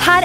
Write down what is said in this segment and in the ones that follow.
her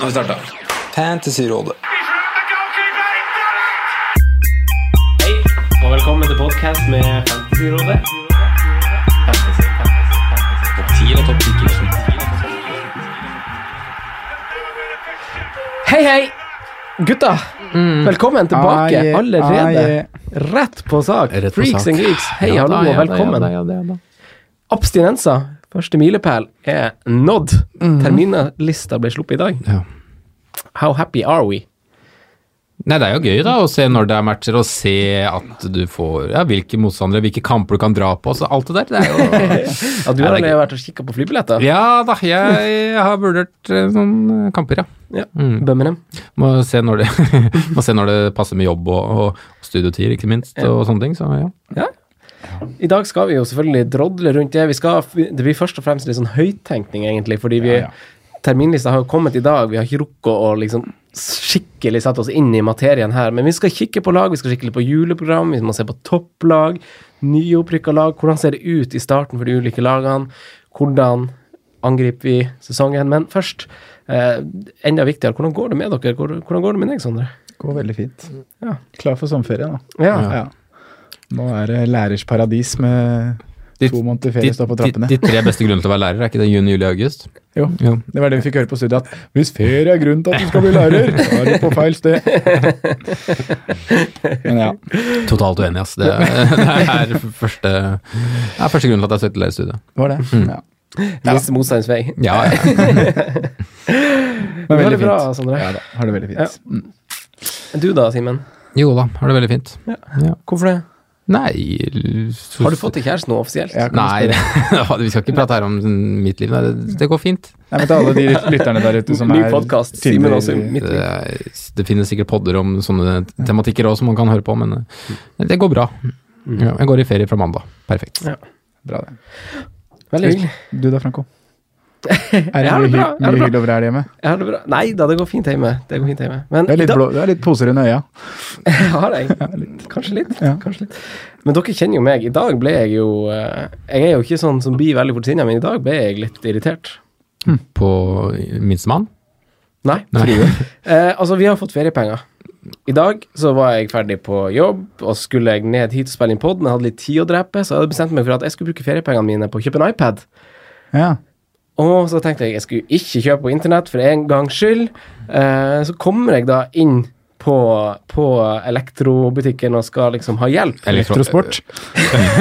Nå starta. Fantasyrådet. Hei, og velkommen til podcast med Fantasyrådet. Fantasy, fantasy, fantasy. Topp 10 og topp 10 Hei, hei! Gutta, velkommen tilbake Mm. Ai, allerede. Rett på sak. Rett på Freaks sak. and geeks, hei, hallo og velkommen. Abstinenser, første milepæl, er nådd. Terminlista ble sluppet i dag. Mm. Ja. How happy are we? Nei, det er jo gøy da å se når det er matcher, og se at du får ja, hvilke motstandere, hvilke kamper du kan dra på. Så alt det der, det er jo Ja, du Ja, har det er allerede vært og kikka på flybilletter? Ja da, jeg har vurdert eh, noen kamper, ja. Ja. Mm. Birmingham. Må se når det, må se når det passer med jobb og, og studietider, ikke minst, og sånne ting. Så ja. I dag skal vi jo selvfølgelig drodle rundt det. Vi skal, det blir først og fremst litt sånn høyttenkning, egentlig, fordi vi, terminlista har jo kommet i dag. Vi har ikke rukket å liksom skikkelig sette oss inn i materien her. Men vi skal kikke på lag, vi skal kikke litt på juleprogram, vi må se på topplag, nyopprykka lag. Hvordan ser det ut i starten for de ulike lagene? Hvordan angriper vi sesongen? Men først, eh, enda viktigere, hvordan går det med dere? Hvor- Hvordan går det med deg, Sondre? Går veldig fint. Ja. Klar for sommerferie nå. Mm. Ja. Nå er det lærers paradis med De, to måneder de, ferie står på de, trappene. de tre beste grunnene til å være lærer, er ikke det juni, juli, august? Jo, Jo. det var det vi fikk høre på studiet, at hvis ferie er grunnen til at du skal bli lærer, da er du på feil sted. Men ja. Totalt uenig, ass. Det, er- det er første, det er første grunnen til at jeg søkte lærerstudiet. Det var det. Mm. Ja. Motstandsvei. Motstands vei. Ja, ja. Men Har veldig det fint. bra, Sondre. Ja da, har det veldig Ja. fint. Mm. Du da, Simen? Jo da, har det veldig fint. Hvorfor det? Nei Har du fått deg kjæreste nå offisielt? Ja, kan du Nei, spørre? vi skal ikke prate her om mitt liv. Nei, det, det går fint. Nei, men til alle de lytterne der ute som Ny er podcast, Tinder- Simen og Simen. Mitt Det, liv. er- det finnes sikkert podder om sånne tematikker òg som man kan høre på, men eh, det går bra. Mm. Ja, jeg går i ferie fra mandag. Perfekt. Bra det. Veldig hyggelig. Du da, Franco? Er Jeg det har mye, det bra, hy- jeg har mye det bra. hyll over her hjemme? Jeg har det bra. Nei da, det går fint hjemme. Det går fint hjemme. Men Du er litt, da, blå, du er litt poser under øya. jeg har jeg. Kanskje litt. Ja. Kanskje litt. Men dere kjenner jo meg. I dag ble jeg jo eh, Jeg er jo ikke sånn som blir veldig fort sinna, men i dag ble jeg litt irritert. På minstemann? Nei. Nei. Eh, altså, vi har fått feriepenger. I dag så var jeg ferdig på jobb, og skulle jeg ned hit og spille inn pod, men jeg hadde litt tid å drepe, så jeg hadde bestemt meg for at jeg skulle bruke feriepengene mine på å kjøpe en iPad. Ja. Og så tenkte jeg jeg skulle ikke kjøpe på internett for en gangs skyld. Eh, så kommer jeg da inn på, på elektrobutikken og skal liksom ha hjelp. Elektro- Elektrosport. Eh,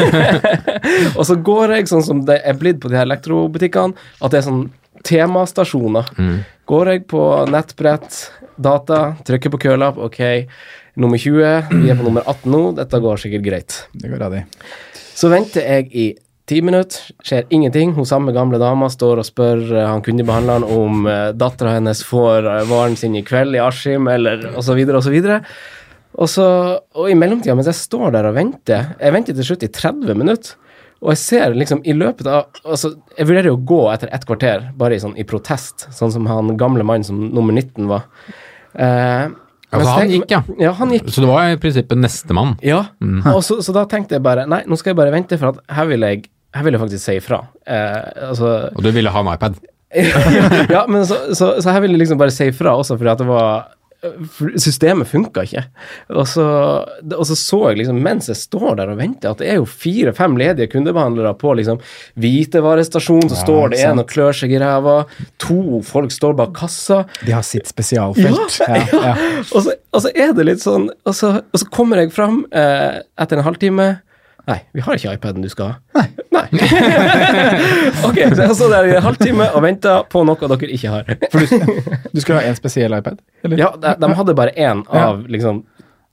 Og så går jeg sånn som det er blitt på de her elektrobutikkene, at det er sånn temastasjoner. Går jeg på nettbrett, data, trykker på kølapp, ok, nummer 20, vi er på nummer 18 nå, dette går sikkert greit. Det går av, de. Så venter jeg i ti minutter, skjer ingenting. Hun samme gamle dama står og spør eh, han kundebehandleren om uh, dattera hennes får eh, varen sin i kveld i Askim, eller og så videre og så videre. Og, så, og i mellomtida, mens jeg står der og venter Jeg venter til slutt i 30 minutter. Og jeg ser liksom i løpet av altså, Jeg vurderer jo å gå etter et kvarter, bare i, sånn, i protest, sånn som han gamle mannen som nummer 19 var. Eh, mens Altså, han jeg- gikk, ja. Ja, han gikk. Så det var i prinsippet nestemann. Ja, og så, så da tenkte jeg bare Nei, nå skal jeg bare vente, for at her vil jeg, her vil jeg faktisk si ifra. Eh, altså, Og du ville ha en iPad. ja, men så, så, så her vil jeg liksom bare si ifra også, fordi at det var for systemet funka ikke. Og så, og så så jeg liksom, mens jeg står der og venter, at det er jo fire-fem ledige kundebehandlere på liksom hvitevarestasjonen, så står det sant. en og klør seg i ræva, to folk står bak kassa. De har sitt spesialfelt. Ja, ja. Og så, og så er det litt sånn Og så, og så kommer jeg fram eh, etter en halvtime. Nei, vi har ikke iPaden du skal ha. Nei. ok, så jeg står der i en halvtime og venter på noe dere ikke har. For du, du skulle ha en spesiell iPad? Eller? Ja, de, de hadde bare én av liksom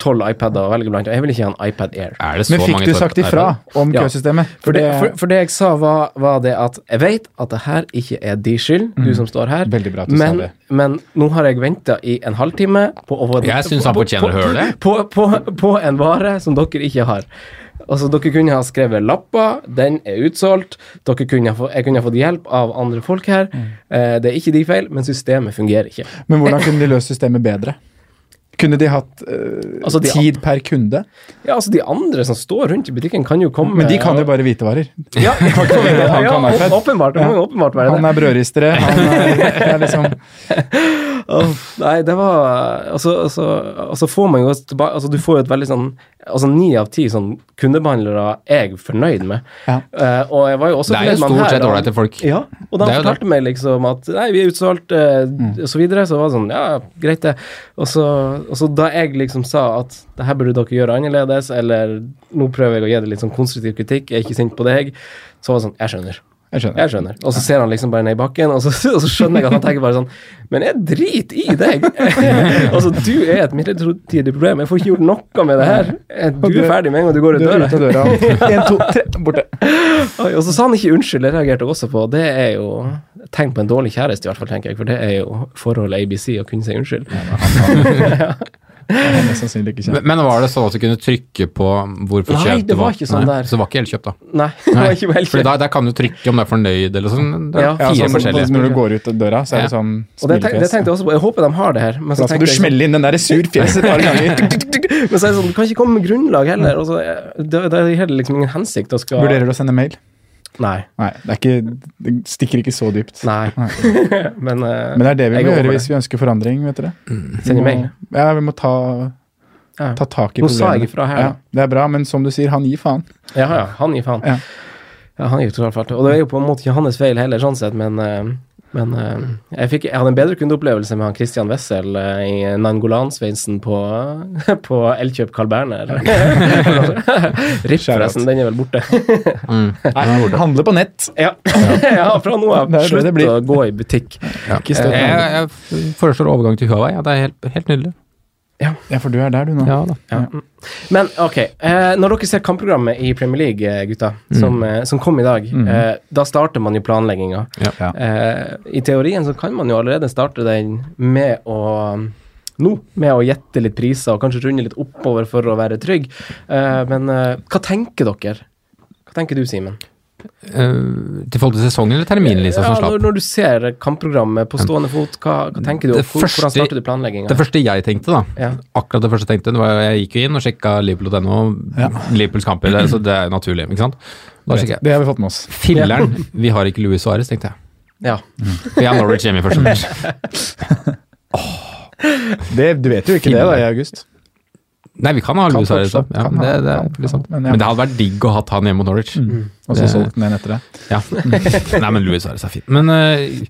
tolv iPader å velge blant. og Jeg vil ikke ha en iPad Air. Er det så Men fikk mange du tar- sagt ifra om Ja. køsystemet? For det, for, for det jeg sa, var, var det at jeg vet at det her ikke er din skyld, du som står her, Mm. Veldig bra at du sa men, det. men nå har jeg venta i en halvtime på å få Jeg synes han på- fortjener å på- høre det. På, på, på en vare som dere ikke har. Altså, dere kunne ha skrevet lapper, den er utsolgt, dere kunne ha få, jeg kunne ha fått hjelp av andre folk her. Mm. Eh, det er ikke de feil, men systemet fungerer ikke. Men hvordan kunne de løst systemet bedre? Kunne de hatt eh, Altså, de- tid per kunde? Ja, altså, de andre som står rundt i butikken, kan jo komme Men de kan jo bare hvitevarer. Ja, Han ja, Eh, kan å- iPad. åpenbart. Det må jo åpenbart være det. Han er brødristere, han er, det er liksom Åh, nei, det var altså, altså, altså får man jo tilbake altså Du får jo et veldig sånn Altså Ni av ti sånn kundebehandlere er jeg fornøyd med. Ja. Eh, og jeg var jo også Det er jo fornøyd med han stort her, sett da. ålreite folk. Ja, og da han Det er jo det. Mm. fortalte meg liksom at Nei, vi er utsolgt, eh, og så videre. Så var det sånn Ja, greit, det. Og så, og så da jeg liksom sa at det her burde dere gjøre annerledes, eller nå prøver jeg å gi det litt sånn konstruktiv kritikk, jeg er ikke sint på deg, så var det sånn Jeg skjønner. Jeg skjønner. Jeg skjønner. Og så ser han liksom bare ned i bakken, og så, og så skjønner jeg at han tenker bare sånn Men jeg driter i deg! altså, du er et midlertidig problem. Jeg får ikke gjort noe med det her. Du er ferdig med en gang du går ut Du er døra. ute av døra. En, to, tre, borte. Oi, Og så sa han ikke unnskyld, det reagerte jeg også på. Det er jo et tegn på en dårlig kjæreste, i hvert fall, tenker jeg. For det er jo forholdet ABC å kunne si unnskyld. Mm. Han er mest sannsynlig ikke kjent. Men, men var det sånn at du kunne trykke på hvor fortjent Nei, det var ikke sånn Nei, der. Så det var ikke helt kjøpt, da. Nei, det var ikke helt Fordi der, der kan du trykke om du er fornøyd eller sånn. men Det er Ja. altså, Ja, fire sånn, forskjellige. når du går ut av døra, så er det sånn Og det, tenk, det smilefjes. tenkte jeg også på. Jeg håper de har det her. Men så Da skal tenkte du jeg sånn- smelle inn den der sur fjeset et par ganger. Men så er det sånn, du kan ikke komme med grunnlag heller. Og så, eh, da, da er det liksom ingen hensikt å skal Vurderer du å sende mail? Nei. Nei, det, er ikke, det stikker ikke så dypt. Nei. men, eh, Men det er det vi jeg må håper gjøre det. hvis vi ønsker forandring, vet dere. Sende mail. Ja, vi må ta, Ja. ta tak i Nå sa jeg problemet. ifra her, da. Ja, det er bra, men som du sier, han gir faen. Ja, ja, han gir faen. Ja. Ja. han gir totalt faen. Og det er jo på en måte ikke hans feil heller, sånn sett, men, eh, men eh, jeg, fikk, jeg hadde en bedre kundeopplevelse med han Christian Wessel eh, i Nangolan-sveisen på, på Elkjøp Carl Berner. Ripp, forresten. Den er vel borte. Handle på nett. ja. ja, fra nå av. Det er det Slutt det blir. å gå i butikk. Ikke Jeg, støtt Eh. andre. jeg f- foreslår overgang til Huawei. Ja, det er helt, helt nydelig. Ja, for du er der, du nå. Ja, da. Men ok, eh, når dere ser kampprogrammet i Premier League, eh, gutta, som, eh, som kom i dag, eh, da starter man jo planlegginga. Ja. Eh, I teorien så kan man jo allerede starte den med å nå, med å gjette litt priser og kanskje runde litt oppover for å være trygg. Eh, men eh, hva tenker dere? Hva tenker du, Simen? Eh, til forhold til sesongen eller terminlista Ja, som slapp? når, når du ser kampprogrammet på stående fot, hva, hva tenker du? Det og Hvor, hvordan første- starter du planlegginga? Det første jeg tenkte, da, Ja. akkurat det første jeg tenkte, det var jeg gikk jo inn og sjekka Liverpool.no, Liverpools kamper, det- så det er jo naturlig, ikke sant. Da sjekket jeg. Det har vi fått med oss. Filler'n, vi har ikke Louis Suárez, tenkte jeg. Ja. Vi har Norwich hjemme i første match. Det, du vet jo ikke det da, i august. Nei, vi kan ha Kan Louis Suárez, da. fortsatt, Ja, kan ha, det, det, er kan, litt sant. kan, men men, ja. Mm. det hadde vært digg å ha han hjemme mot Norwich. Og så Det- solgte den etter det. Ja. Nei, men Louis Suárez er fin. Men eh,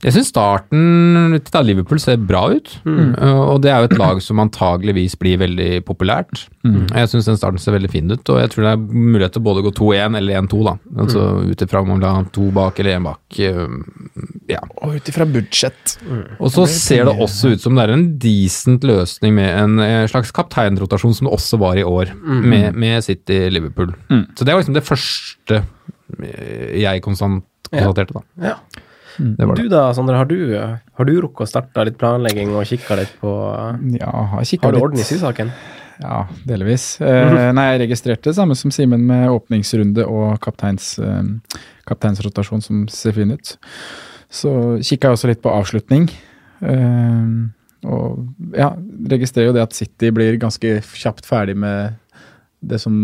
jeg syns starten til Liverpool ser bra ut. Mm. Eh, og det er jo et lag som antageligvis blir veldig populært. Mm. Jeg syns den starten ser veldig fin ut, og jeg tror det er mulighet til å både gå 2-1 eller 1-2, da. Altså Mm. ut ifra om man vil ha to bak eller én bak. eh, ja. Og ut ifra budsjett. Og så ser det også ut som det er en decent løsning med en eh, slags kapteinrotasjon som det også var i år, Mm. med, med City-Liverpool. Så det var liksom det første eh, jeg konstant konstaterte, da. Ja. Det var Du det. da, Sondre, har du, eh, har du rukket å starte litt planlegging og kikka litt på Ja, har kikket Har du litt. orden i sysaken? Ja, delvis. Mhm. Eh, nei, jeg registrerte det samme som Simen med åpningsrunde og kapteins, eh, kapteinsrotasjon, som ser fin ut. Så kikka jeg også litt på avslutning. Eh, og ja, registrerer jo det at City blir ganske kjapt ferdig med det som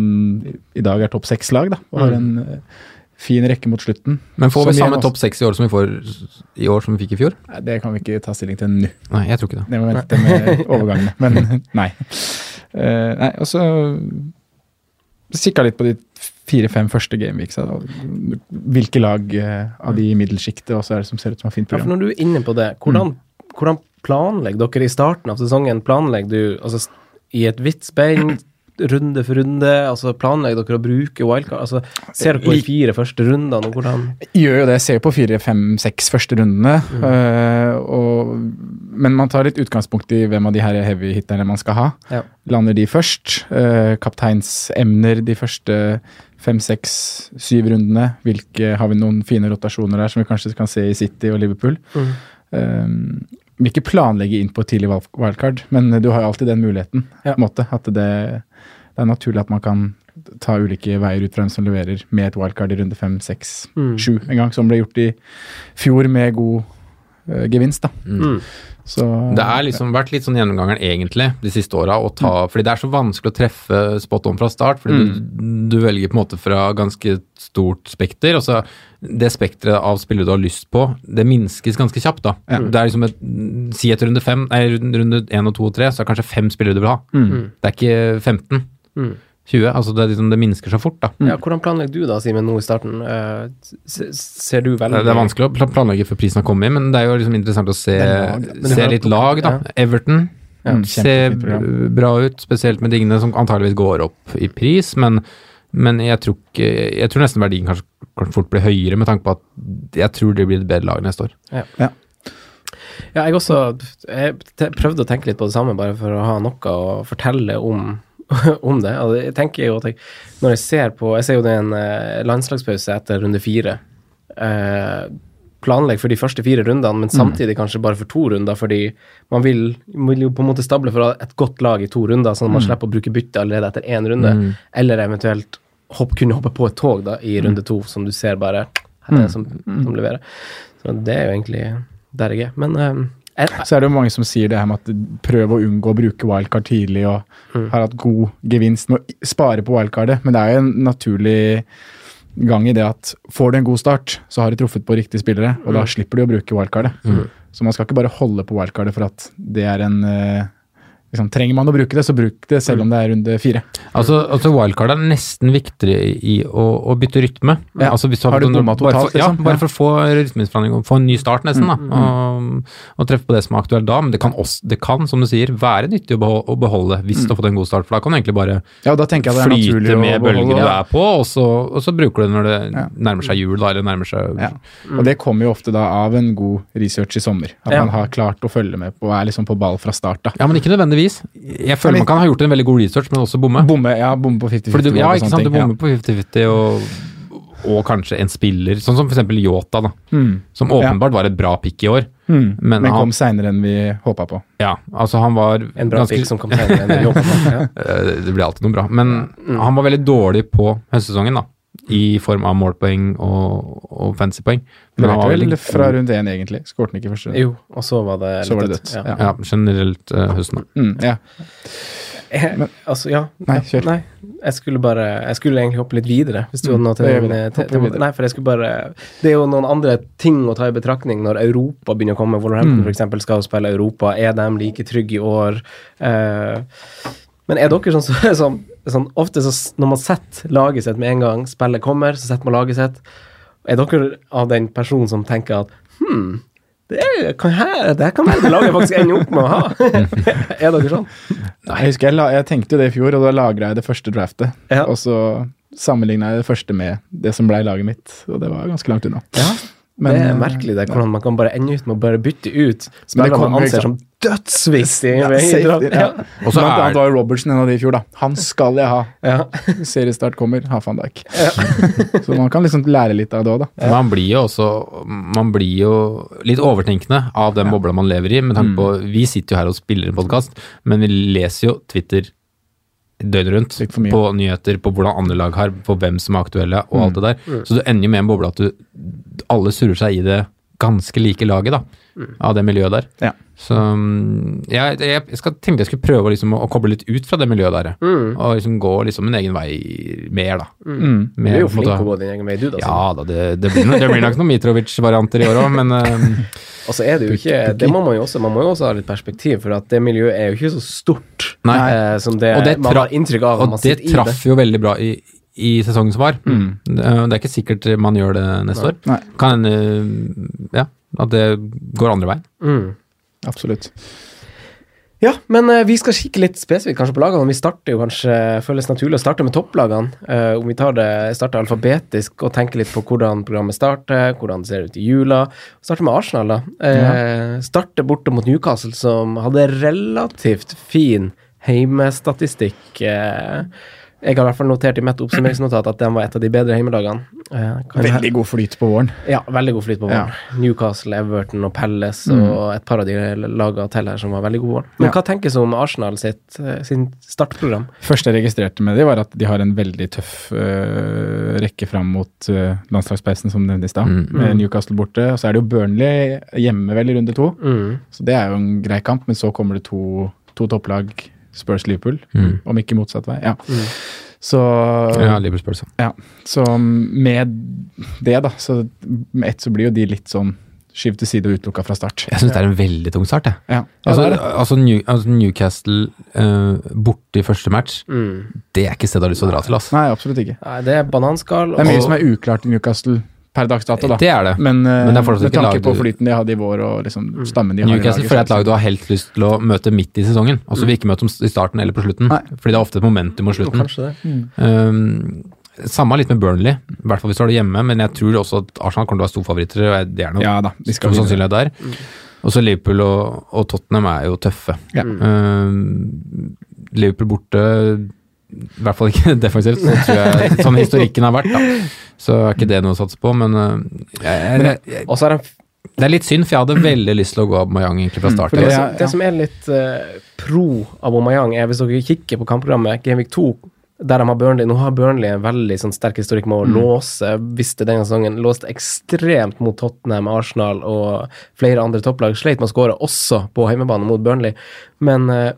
i dag er topp seks-lag, da. Og har en eh, fin rekke mot slutten. Mhm. Men får vi Som igjen samme også- topp seks i år som vi får i år som vi fikk i fjor? Nei, Det kan vi ikke ta stilling til nå. Nei, jeg tror ikke det. Det må vente med overgangene. Men nei. Eh, nei, og så kikka litt på de fire-fem første gameweeksa. da. Hvilke lag eh, av de i middelsjiktet også er det som ser ut som har fint Ja, for program? når du er inne på det, hvordan, Mm. hvordan planlegger dere i starten av sesongen? Planlegger du altså, s- i et vidt spenn, runde for runde? Altså, planlegger dere å bruke wildcard? Altså, ser dere på de fire første rundene, og hvordan gjør jo det. Ser jo på fire, fem, seks første rundene. øh, og, men man tar litt utgangspunkt i hvem av de her heavy-hitterne man skal ha. Ja. Lander de først? øh, kapteinsemner de første fem, seks, syv rundene. Hvilke, har vi noen fine rotasjoner der som vi kanskje kan se i City og Liverpool? Mhm. Um, vil ikke planlegge inn på et tidlig wild- wildcard, men du har jo alltid den muligheten. Ja. på en måte, at det, det er naturlig at man kan ta ulike veier ut fra hvem som leverer, med et wildcard i runde fem, seks, Mm. sju en gang, som ble gjort i fjor med god eh, gevinst. da. Mm. Så, Det har liksom vært litt sånn gjennomgangeren egentlig de siste åra. å ta- Fordi det er så vanskelig å treffe spot on fra start. fordi du, du velger på en måte fra ganske stort spekter. og så Det spekteret av spillere du har lyst på, det minskes ganske kjapt. da. Det er liksom et, Si etter runde fem, nei, runde- runde én og to og tre, så er det kanskje fem spillere du vil ha. Mm. Det er ikke 15. Mm. 20. altså Det, er liksom, det minsker så fort, da. Ja, hvordan planlegger du da, Simen, nå i starten? Eh, s- ser du Det veldig det er vanskelig å pla- planlegge før prisen har kommet, men det er jo liksom interessant å se, Det er lag, da. Men du se har litt to- lag, da. Everton Ja, ser Mm, kjempefint program. bra ut, spesielt med Digne, som antageligvis går opp i pris, men, men jeg, tror ikke, jeg tror nesten verdien kanskje, kanskje fort blir høyere, med tanke på at jeg tror det blir et bedre lag neste år. Ja, jeg også jeg te- prøvde å tenke litt på det samme, bare for å ha noe å fortelle om, om det. Altså, jeg tenker jo at jeg, når jeg ser på Jeg ser jo det er en eh, landslagspause etter runde fire. Eh, planlegg for de første fire rundene, men samtidig kanskje bare for to runder, fordi man vil, vil jo på en måte stable for å ha et godt lag i to runder, sånn at man slipper å bruke bytte allerede etter én runde, eller eventuelt hopp, kunne hoppe på et tog da, i runde to, som du ser bare her er det som, som leverer. Så det er jo egentlig der jeg er. Men eh, jeg, så er det jo mange som sier det her med at prøv å unngå å bruke wildcard tidlig, og Mm. har hatt god gevinst med å i- spare på wildcardet, men det er jo en naturlig gang i det at får du en god start, så har du truffet på riktige spillere, og Mm. da slipper du å bruke wildcardet. Så man skal ikke bare holde på wildcardet for at det er en eh, liksom, Trenger man å bruke det, så bruk det Mm. selv om det er runde fire. Altså, altså Wildcard er nesten viktigere i å, å bytte rytme. Ja. Altså, hvis Har du noen- bomma bare totalt, for, ja, liksom? Bare Ja. Mm, for å få rytmeforandring og få en ny start, nesten. da, og, og treffe på det som er aktuelt da. Men det kan, også, det kan som du sier, være nyttig å beholde, å beholde hvis du har fått en god start. For da kan du egentlig bare Mm. Ja, og da tenker jeg det er naturlig flyte å med beholde- bølgene du ja. er på, og så, og så bruker du det når det Ja. nærmer seg jul, da, eller nærmer seg Ja. Mm. Og det kommer jo ofte da av en god research i sommer. At Ja. man har klart å følge med på og er liksom på ball fra start. da. Ja, men ikke nødvendigvis. Jeg føler Eller- man kan ha gjort en veldig god research, men også bomme. Bomme, ja, bomme på 50-50. Fordi du, ja, og ikke sånne sant, du ting, ja. bommer på 50-50 og, og kanskje en spiller, sånn som for eksempel Yota, da, Mm. som åpenbart var et bra pick i år. Mm. Men Men, han- kom seinere enn vi håpa på. Ja, altså han var en bra ganske- pick som kaptein. eller jobb, ja. Eh, Det blir alltid noe bra, men Mm. han var veldig dårlig på høstsesongen, da. I form av målpoeng og, og fancypoeng. Men han Leverte var veldig vel god. fra runde én, egentlig. Skårte han ikke første runde. Jo, og så var det Så var det litt- dødt. ja. Ja. Ja, generelt eh, høsten. da. Mm, ja. Eh, altså, ja. Nei, kjør. Mm. Nei, jeg skulle bare Jeg skulle egentlig hoppe litt videre. Hvis du hadde noe til, det gjør vi da. til, Hopper videre. Nei, for jeg skulle bare Det er jo noen andre ting å ta i betraktning når Europa begynner å komme. Mm. Wolverhampton for eksempel skal jo spille Europa. Er de like trygge i år? Eh, men er dere sånn som som- sånn, Ofte så, s- når man setter laget sitt med en gang spillet kommer, så setter man laget sitt. Er dere av den personen som tenker at hm, det, er, kan her, det her kan være det laget jeg faktisk ender opp med å ha? Mm. er dere sånn? Jeg husker jeg, la, jeg tenkte jo det i fjor, og da lagra jeg det første draftet. Ja. Og så sammenligna jeg det første med det som blei laget mitt, og det var ganske langt unna. eh, det er merkelig det, hvordan man kan bare ende ut med å bare bytte ut Men det spillere man kommer jo anser ikke som sant. dødsviktige. Ja, ved safety, idrett. ja. Og så Blant er- annet var Robertsen en av de i fjor, da. Han skal jeg ha. Ja. Seriestart kommer, ha van Dijk. så man kan liksom lære litt av det òg, da. Men Man blir jo også Man blir jo litt overtenkende av den bobla man lever i. Med tanke på Mm. Vi sitter jo her og spiller en podkast, men vi leser jo Twitter døgnet rundt Litt for mye. Mm. på nyheter, på hvordan andre lag har, på hvem som er aktuelle og alt det der. Så du ender jo med en boble at du Alle surrer seg i det ganske like laget da, Mm. av det miljøet der. Ja. Så mm, jeg, jeg, jeg skal, tenkte jeg skulle prøve å liksom, å, å koble litt ut fra det miljøet der. jeg. Mm. Og liksom gå liksom min egen vei mer, da. Mm. Du Mer, er jo på en flink måte. til å gå din egen vei, du, da. Ja da, det, det, blir, nok- det blir nok noen Mitrovic-varianter i år òg, men eh, Og så er det jo ikke Det må man jo også Man må jo også ha litt perspektiv, for at det miljøet er jo ikke så stort Nei. eh, som det, Og det man tra- har inntrykk av. når Og man det sitter i traff jo veldig bra i, i sesongen som var. Mm. Det det er ikke sikkert man gjør det neste år. Nei. Kan hende eh, ja, at det går andre veien. Mm. Absolutt. Ja, men eh, vi skal kikke litt spesifikt kanskje på lagene. og Vi starter jo kanskje, føles naturlig å starte med topplagene. Eh, om vi tar det, starter alfabetisk og tenker litt på hvordan programmet starter, hvordan det ser ut i jula. Starter med Arsenal, da. Eh, Starter borte mot Newcastle, som hadde relativt fin heimestatistikk. Eh, jeg har i hvert fall notert i mitt oppsummeringsnotat at de var et av de bedre heimelagene. Eh, kan- Veldig god flyt på våren. ja, veldig god flyt på våren. Newcastle, Everton og Palace og et par av de lagene til her som var veldig gode. Men Mm. Ja. hva tenkes om Arsenal sitt eh, sin startprogram? første jeg registrerte med det, var at de har en veldig tøff øh, rekke fram mot øh, landslagspausen, som nevnt i stad. Mm. Med Newcastle borte, og så er det jo Burnley hjemme vel i runde to. Så det er jo en grei kamp, men så kommer det to, to topplag, Spurs Liverpool, Mm. om ikke motsatt vei. Ja. Så, Ja, Liverpool, så. så med det, da, så med ett så blir jo de litt sånn skyvd til side og utelukka fra start. Jeg syns det er en veldig tung start, jeg. Ja. Altså, det er det. altså, New, altså Newcastle eh, borte i første match, det er ikke stedet jeg har lyst til å dra til. ass. Nei, absolutt ikke. Nei, det er bananskall. Det er mye og- som er uklart i Newcastle per dags dato, da. Det er det. Men, eh, Men det er fortsatt med ikke tanke laget på du- flyten de hadde i vår, og liksom stammen de har Newcastle i får et lag laget. du har helt lyst til å møte midt i sesongen, og så vil ikke møte dem i starten eller på slutten. Nei. Fordi det er ofte et momentum mot slutten. Kanskje Mm. det. Um, samme litt med Burnley, i hvert fall hvis du har det hjemme, men jeg tror også at Arsenal kommer til å være storfavoritter. og jeg- Det er noe Ja da, de skal stor videre. sannsynlighet der. Og så Liverpool og, og Tottenham er jo tøffe. Ja. Um, Liverpool borte i hvert fall ikke defensivt, så tror jeg, sånn historikken har vært. Da. Så er ikke det noe å satse på, men uh, jeg, jeg, jeg, Og så er det, det er litt synd, for jeg hadde veldig lyst til å gå Aubameyang egentlig fra start. for det det, altså. ja, som, ja. det som er litt eh, pro Abomayang, er hvis dere kikker på kampprogrammet Gamevik 2, der de har Burnley Nå har Burnley en veldig sånn sterk historikk med Mm. å låse, visste denne sesongen, låste ekstremt mot Tottenham, Arsenal og flere andre topplag. Sleit med å skåre også på hjemmebane mot Burnley, men eh,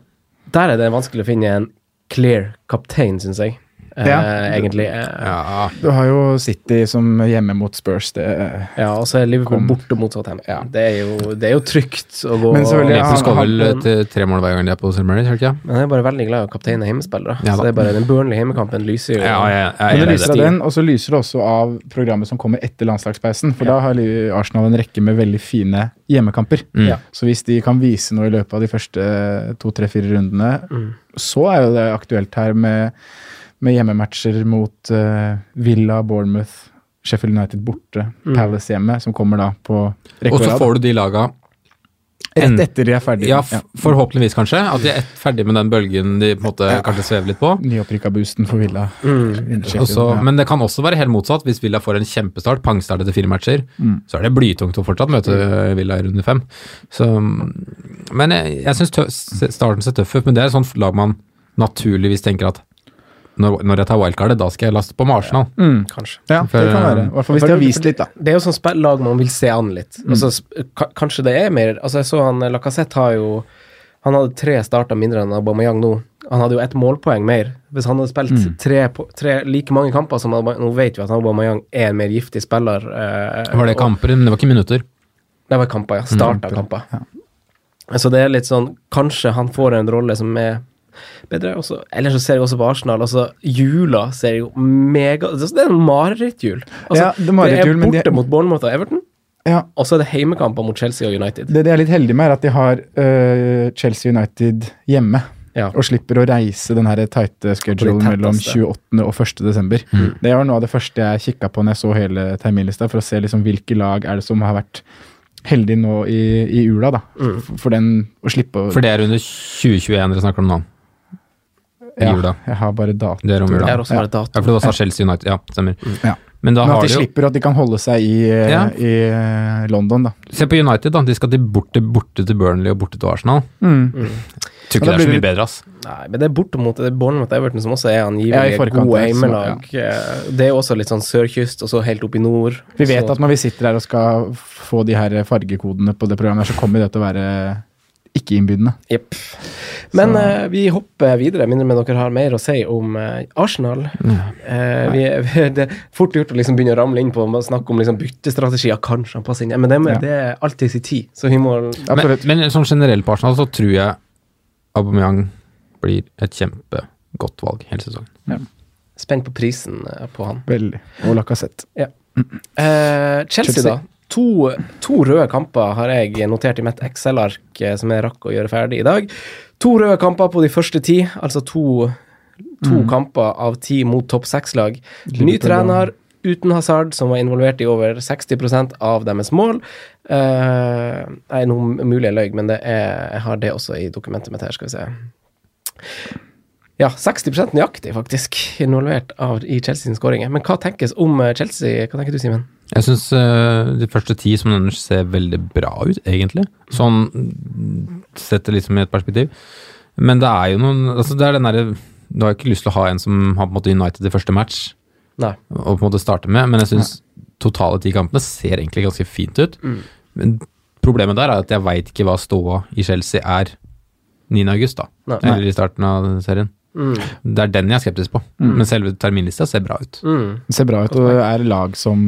der er det vanskelig å finne en clear kaptein, syns jeg. Eh, Ja. Egentlig. Eh, Ja, Du har jo City som hjemme mot Spurs. Det, eh, ja, og så er Liverpool Kom. borte mot Southampton. Det, er jo, det er jo trygt å gå Men selvfølgelig, og- Liverpool han- skårer vel han- til tre mål hver gang de er på St. Mary's, gjør de ikke? Men jeg er bare veldig glad i å kapteine hjemmespillere. Ja så da. det er bare den Burnley-hjemmekampen lyser jo. Ja, jeg- jeg- men jeg det er lyser av enig. den, og så lyser det også av programmet som kommer etter landslagspausen. For da har Li- Arsenal en rekke med veldig fine hjemmekamper. Mm. Så hvis de kan vise noe i løpet av de første to, tre, fire rundene, så er jo det aktuelt her med, med hjemmematcher mot eh, Villa, Bournemouth, Sheffield United borte, Palace hjemme, som kommer da på rekke Og og så rad. får du de laga Rett etter de er ferdige. Ja, f forhåpentligvis kanskje. At de er et- ferdig med den bølgen de på en måte kanskje svever litt på. Nyopprykka boosten for Villa. Sheffield, Og så- ja. Men det kan også være helt motsatt. Hvis Villa får en kjempestart, pangstart etter fire matcher, Mm. så er det blytungt å fortsatt møte eh, Villa i runde fem. Så, men jeg, jeg syns starten ser tøff ut, men det er et sånt lag man naturligvis tenker at når, når jeg tar wildcardet, da skal jeg laste på med Arsenal. mm. Kanskje. Ja, det kan være. I hvert fall hvis de har vist litt, da. Det er jo sånn spill- lag man vil se an litt. Mm. Altså, sp- ka- kanskje det er mer Altså, jeg så han Lacassette har jo Han hadde tre starter mindre enn Aubameyang nå. Han hadde jo ett målpoeng mer. Hvis han hadde spilt Mm. tre, po- tre like mange kamper som Aubame- Nå vet vi at Aubameyang er en mer giftig spiller. eh, Var det Mm. og- kamper, men det var ikke minutter. Det var kamper, ja. Starta kamper. Så det er litt sånn Kanskje han får en rolle som er bedre. Også. Ellers så ser jeg også på Arsenal. Altså, jula ser jo mega Det er en marerittjul. Altså, Ja, det er marerittjul, men de- borte mot Bournemouth og Everton, Ja, og så er det heimekamper mot Chelsea og United. Det de er litt heldige med, er at de har øh, Chelsea United hjemme. Ja. Og slipper å reise den her tighte schedulen tetteste. mellom 28. og 1. desember. Mm. Det var noe av det første jeg kikka på når jeg så hele terminlista, for å se liksom hvilke lag er det som har vært heldige nå i, i ula. da. For- For den å slippe å Mm. For det er under 2021 dere snakker om nå. I ja, jula. Jeg har bare dato. Det er om jula. Det er også Ja. bare dato. Ja, for det var Chelsea United. Ja, stemmer. Ja. Men da Men har at de de jo slipper at de kan holde seg i, eh, Ja. i eh, London, da. Se på United, da. De skal til borte, borte til Burnley og borte til Arsenal. Mm. Tror Men ikke det er da så blir mye det- bedre, ass. Nei, men det er bortimot det er Bournemouth Everton som også er Ja, i angivelig forkant, gode ja, så- heimelag. Eh, Det er jo også litt sånn sørkyst, og så helt opp i nord. Vi vet så, at når vi sitter her og skal få de her fargekodene på det programmet, her, så kommer det til å være ikke-innbydende. Jepp. Men eh, vi hopper videre, mindre med dere har mer å si om eh, Arsenal. Eh, vi, vi- det er fort gjort å liksom begynne å ramle inn på å snakke om liksom byttestrategier. Kanskje han passer inn, ja, men det, må- Ja. det er alltid sin tid. Så vi må Men, men sånn generelt på Arsenal så tror jeg Aubameyang blir et kjempegodt valg hele sesongen. Spent på prisen eh, på han. Veldig. Og Lacassette. Ja. Eh, Chelsea, Chelsea. da. To, to røde kamper har jeg notert i mitt Excel-ark eh, som jeg rakk å gjøre ferdig i dag. To røde kamper på de første ti, altså to, to kamper av ti mot topp seks-lag. Ny Liverpool, trener uten Hazard, som var involvert i over 60 av deres mål. Eh, nei, nå mulig jeg løy, men det er, jeg har det også i dokumentet mitt her, skal vi se. Ja, 60 nøyaktig, faktisk, involvert av, i Chelsea sine skåringer. Men hva tenkes om eh, Chelsea? Hva tenker du, Simen? Jeg syns de første ti som nevner ser veldig bra ut, egentlig. Sånn mm, sett det liksom i et perspektiv. Men det er jo noen altså det er den derre- Du har jo ikke lyst til å ha en som har på en måte United i første match, Nei. og på en måte starte med, men jeg syns totale ti kampene ser egentlig ganske fint ut. Mm. Men problemet der er at jeg veit ikke hva ståa i Chelsea er 9. august, da. Nei. Mm. Eller i starten av serien. Det er den jeg er skeptisk på. Men selve terminlista ser bra ut. Mm. Det ser bra ut, og det er lag som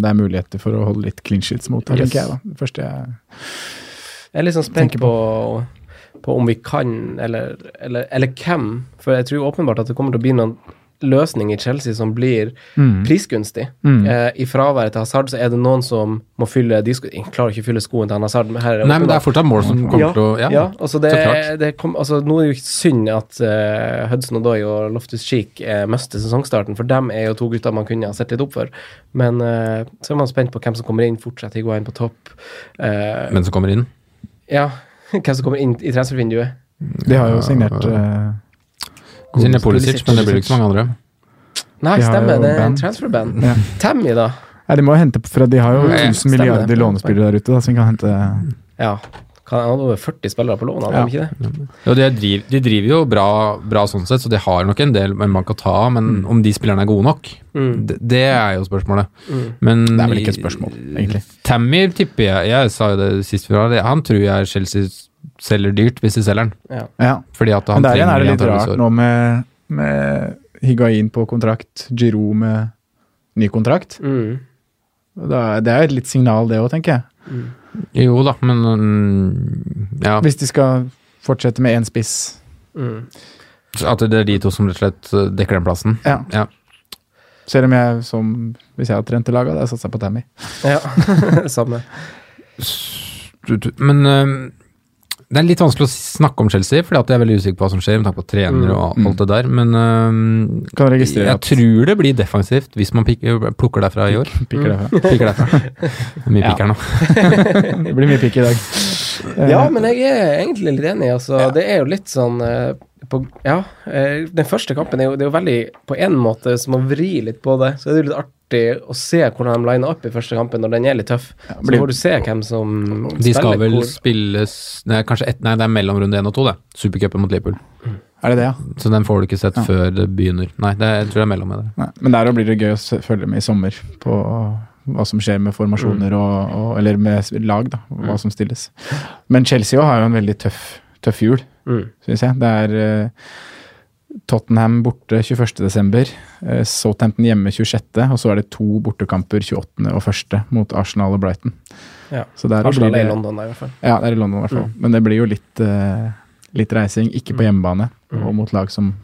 det er muligheter for å holde litt clean sheets mot. her, tenker jeg da. Det første jeg... Jeg er litt sånn spent på, på om vi kan, eller, eller, eller hvem. For jeg tror åpenbart at det kommer til å bli noen løsning i Chelsea som blir Mm. prisgunstig. Eh, I fraværet til Hazard så er det noen som må fylle de sko Jeg klarer ikke å fylle skoen til han Hazard, men her er Nei, men det er åpenbart- fortsatt mål som kommer ja, til å ja, Ja, altså det, så klart. det kom, altså Nå er det jo ikke synd at eh, Hudson Odoi og Loftus Cheek eh, mister sesongstarten, for dem er jo to gutter man kunne ha sett litt opp for. Men eh, så er man spent på hvem som kommer inn. Fortsetter Higuain på topp? Eh, Men som kommer inn. ja, hvem som kommer inn i transfervinduet. De har jo signert eh, gode Siden det er Pulisic, spillere. men det blir jo ikke så mange andre. Nei, De har stemmer, jo det er en band. transferband. Ja. Tammy, da. Nei, de må jo hente fra, de har jo Ja, ja, 1000 stemmer det. milliarder lånespillere der ute, da, som kan hente Ja. Han hadde over 40 spillere på lån, hadde Ja. han ikke det? Ja, de, driv, de driver jo bra, bra sånn sett, så de har nok en del man kan ta av, men Mm. om de spillerne er gode nok, det, det er jo spørsmålet. Men Mm. Det er vel ikke et spørsmål, egentlig. Tammy tipper jeg, jeg sa jo det sist vi var her, han tror jeg Chelsea selger dyrt hvis de selger den. Ja. Fordi at han Men der igjen er trenger det litt antageligvis rart år. nå med, med Higuain på kontrakt, Giroud med ny kontrakt. Mm. Da, det er jo et litt signal, det òg, tenker jeg. Jo da, men mm, ja. Hvis de skal fortsette med én spiss. Mm. At det er de to som rett og slett dekker den plassen. Ja. Ja. Selv om jeg, som, hvis jeg hadde trent i laget, hadde jeg satsa på Tammy. Ja, samme. Du- du- Men øhm, det er litt vanskelig å snakke om Chelsea, fordi at jeg er veldig usikker på hva som skjer med tanke på trener og Mm. alt det der. Men øhm, Kan registrere jeg at tror det blir defensivt hvis man pik plukker derfra i år. pikker derfra. Pikker derfra. Det er Mye Ja. pikker nå. Det blir mye pikk i dag. Eh, Ja, men jeg er egentlig litt enig. Altså, Det er jo litt sånn eh, på, Ja. eh, den første kampen er jo, det er jo veldig På en måte som å vri litt på det. Så er det jo litt artig å se hvordan de liner opp i første kampen når den er litt tøff. Så blir- får du se hvem som De skal vel hvor- spilles Nei, kanskje ett- nei, det er mellom runde én og to, det. Supercupen mot Liverpool. Er det det, ja? Så den får du ikke sett Ja. før det begynner. Nei, det, er- jeg tror det er mellom. Det. Nei. Men der òg blir det gøy å se- følge med i sommer på hva som skjer med formasjoner og, og Eller med s- lag, da. og Hva som stilles. Men Chelsea også har jo en veldig tøff, tøff jul, Mm. syns jeg. Det er eh, Tottenham borte 21.12., uh, Southampton hjemme 26., og så er det to bortekamper 28. og 1. mot Arsenal og Brighton. Ja. Så der Arsenal blir er i det- London, da, i hvert fall. Ja, det er i London i hvert fall. Men det blir jo litt, eh, litt reising, ikke på hjemmebane, og mot lag som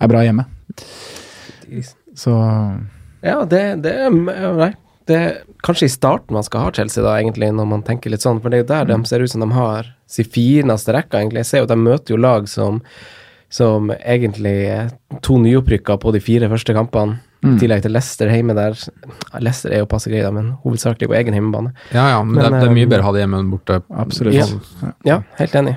er bra hjemme. Så Ja, det, det er- Nei. Det er kanskje i starten man skal ha Chelsea, da, egentlig, når man tenker litt sånn. For det er jo der de ser ut som de har sin fineste rekke, egentlig. Jeg ser jo at de møter jo lag som, som egentlig er to nyopprykka på de fire første kampene. I tillegg til Leicester hjemme der. Ja, Leicester er jo passe greie, da, men hovedsakelig på egen hjemmebane. Ja ja, men, det, Men, er, det er øhm, mye bedre å ha det hjemme enn borte. absolutt. Ja. eh, Ja. Ja, helt enig.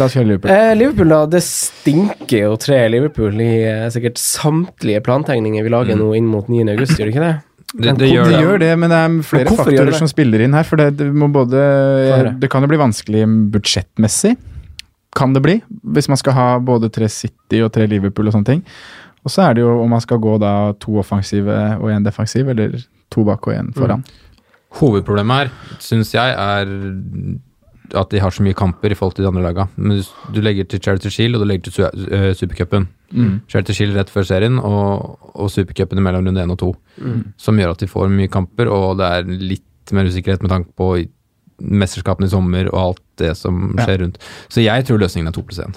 La oss kjøre Liverpool. Eh, Liverpool, da. Det stinker jo tre Liverpool i eh, sikkert samtlige plantegninger vi lager nå inn mot 9. august, gjør det ikke det? Det, det gjør det, det. gjør det, men det er flere hvorfor gjør faktorer det? som spiller inn her. For det, det, må både, høre. det kan jo bli vanskelig budsjettmessig, kan det bli, hvis man skal ha både tre City og tre Liverpool og sånne ting. Og så er det jo om man skal gå da to offensive og én defensiv, eller to bak og én foran. Hovedproblemet her, syns jeg, er at de har så mye kamper i forhold til de andre laga. Men du, du legger til Charity Shield, og du legger til su- eh, Supercupen. Mm. Charity Shield rett før serien, og, og Supercupen mellom runde én og to. Mm. Som gjør at de får mye kamper, og det er litt mer usikkerhet med tanke på i- mesterskapene i sommer og alt det som Ja. skjer rundt. Så jeg tror løsningen er to pluss én.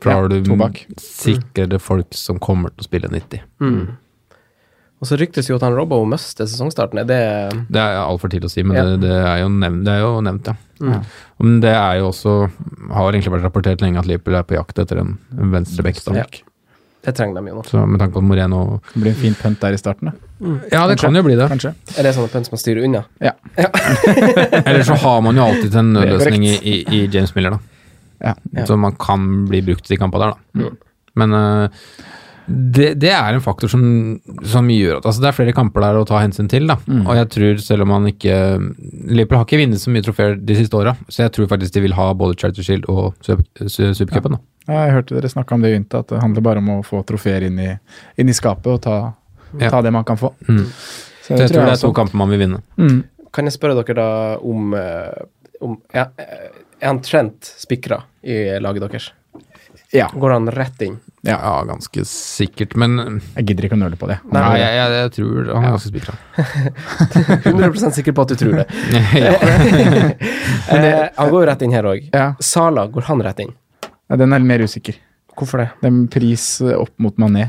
For da Ja, har to du bak. sikrere folk som kommer til å spille 90. Og så ryktes jo at han Robbo mister sesongstarten. Er det Det er altfor tidlig å si, men Ja. det, det, er jo nevnt, det er jo nevnt, ja. Mm. Men det er jo også Har egentlig vært rapportert lenge at Liverpool er på jakt etter en venstreback. da. Ja. Det trenger de jo nå. Så med tanke på at Moreno Det blir en fin punt der i starten, da. Ja, det kan jo bli det. kanskje. Er det sånn at Pence må styre unna? Eller så har man jo alltid en Det er nødløsning i, i, i James Miller, da. Ja. Mm. Ja. Så man kan bli brukt i de kampene der, da. Men eh, det, det er en faktor som, som gjør at altså Det er flere kamper der å ta hensyn til, da. Mm. Og jeg tror, selv om man ikke Liverpool har ikke vunnet så mye trofeer de siste åra, så jeg tror faktisk de vil ha både Charter Shield og Sup- Su- Supercupen, da. Ja, Jeg hørte dere snakka om det i Ynta, at det handler bare om å få trofeer inn i, inn i skapet og ta, Ja. ta det man kan få. Mm. Så Så jeg tror det er også- to kamper man vil vinne. Mm. Kan jeg spørre dere da om, eh, om ja, eh, Er han Trent spikra i laget deres? Ja. Går han rett inn? Ja, ganske sikkert, men Jeg gidder ikke å nøle på det. Nei, jeg, jeg, jeg tror han er ganske spikra. 100 sikker på at du tror det. Eh, han går jo rett inn her òg. Ja, Sala, går han rett inn? Ja, den er mer usikker. Hvorfor det? Den pris eh, opp mot Mané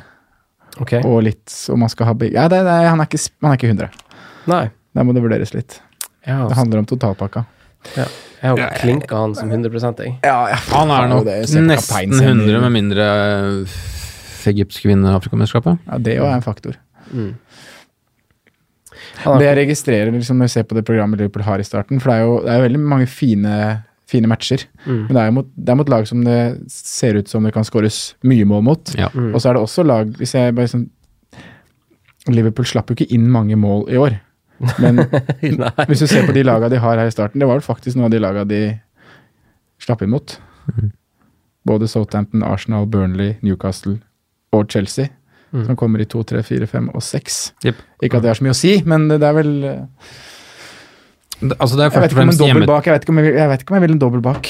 Ok. og litt om man skal ha begge. Ja, det, det, han, er ikke, sp- han er ikke 100. Nei. Der må det vurderes litt. Ja, altså. Det handler om totalpakka. jeg har jo klinka han som 100 jeg. Han er nok Det er jo selv nesten kapteinsen. 100 med mindre eh, egyptsk vinner Afrikamesterskapet. Ja, det jo er en faktor. Mm. Han er- Det jeg registrerer liksom, når jeg ser på det programmet Liverpool har i starten, for det er jo, det er jo veldig mange fine, fine matcher, Mm. men det er jo mot, det er mot lag som det ser ut som det kan skåres mye mål mot. Ja. Og så er det også lag hvis jeg bare sånn, Liverpool slapp jo ikke inn mange mål i år. Men Nei. hvis du ser på de laga de har her i starten, det var vel faktisk noen av de laga de slapp inn mot. Mm. Både Southampton, Arsenal, Burnley, Newcastle og Chelsea. Som kommer i to, tre, fire, fem og seks. Jep. Ikke at det har så mye å si, men det er vel Jeg Det- Altså det er først vet og ikke om en fremst hjemme... dobbel bak. Jeg vet ikke om jeg, vil- jeg, vet ikke om jeg vil en dobbel bak.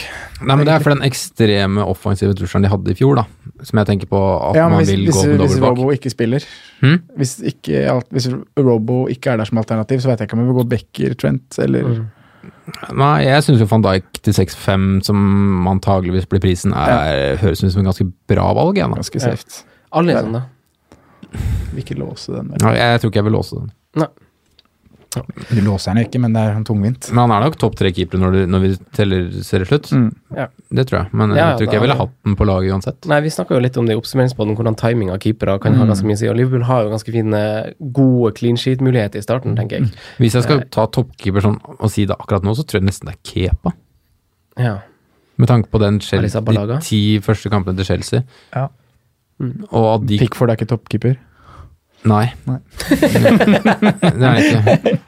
Nei, men det er for den ekstreme offensive trusselen de hadde i fjor, da. Som jeg tenker på at Ja, men man hvis, vil hvis, gå med hvis dobbelt bak. Robo ikke spiller Hm? hvis, ikke, alt- hvis Robo ikke er der som alternativ, så vet jeg ikke om jeg vil gå Becker, Trent eller Mm. Nei, jeg syns jo van Dijk til 6-5, som antageligvis blir prisen, er, høres ut som en ganske bra valg. Jeg, da. Ganske safe. Alle er sånn, da. Vil ikke låse den. Nei, jeg tror ikke jeg vil låse den. Du låser den jo ikke, men det er sånn tungvint. Men han er nok topp tre keepere når, du- når vi teller ser det slutt. Mm. Ja. Det tror jeg. Men Ja, jeg tror da- ikke jeg ville hatt den på laget uansett. Nei, vi snakka jo litt om det i oppsummeringspodden, hvordan timing av keepere kan ha ganske mye å si. Og Liverpool har jo ganske fine, gode clean sheet-muligheter i starten, tenker jeg. Hvis jeg skal ta toppkeeper sånn og si det akkurat nå, så tror jeg nesten det er Kepa. Ja. Med tanke på den Chelsea, Arrizabalaga. de ti første kampene til Chelsea. Ja. Og at de Pickford er ikke toppkeeper. Nei. Nei. det er ikke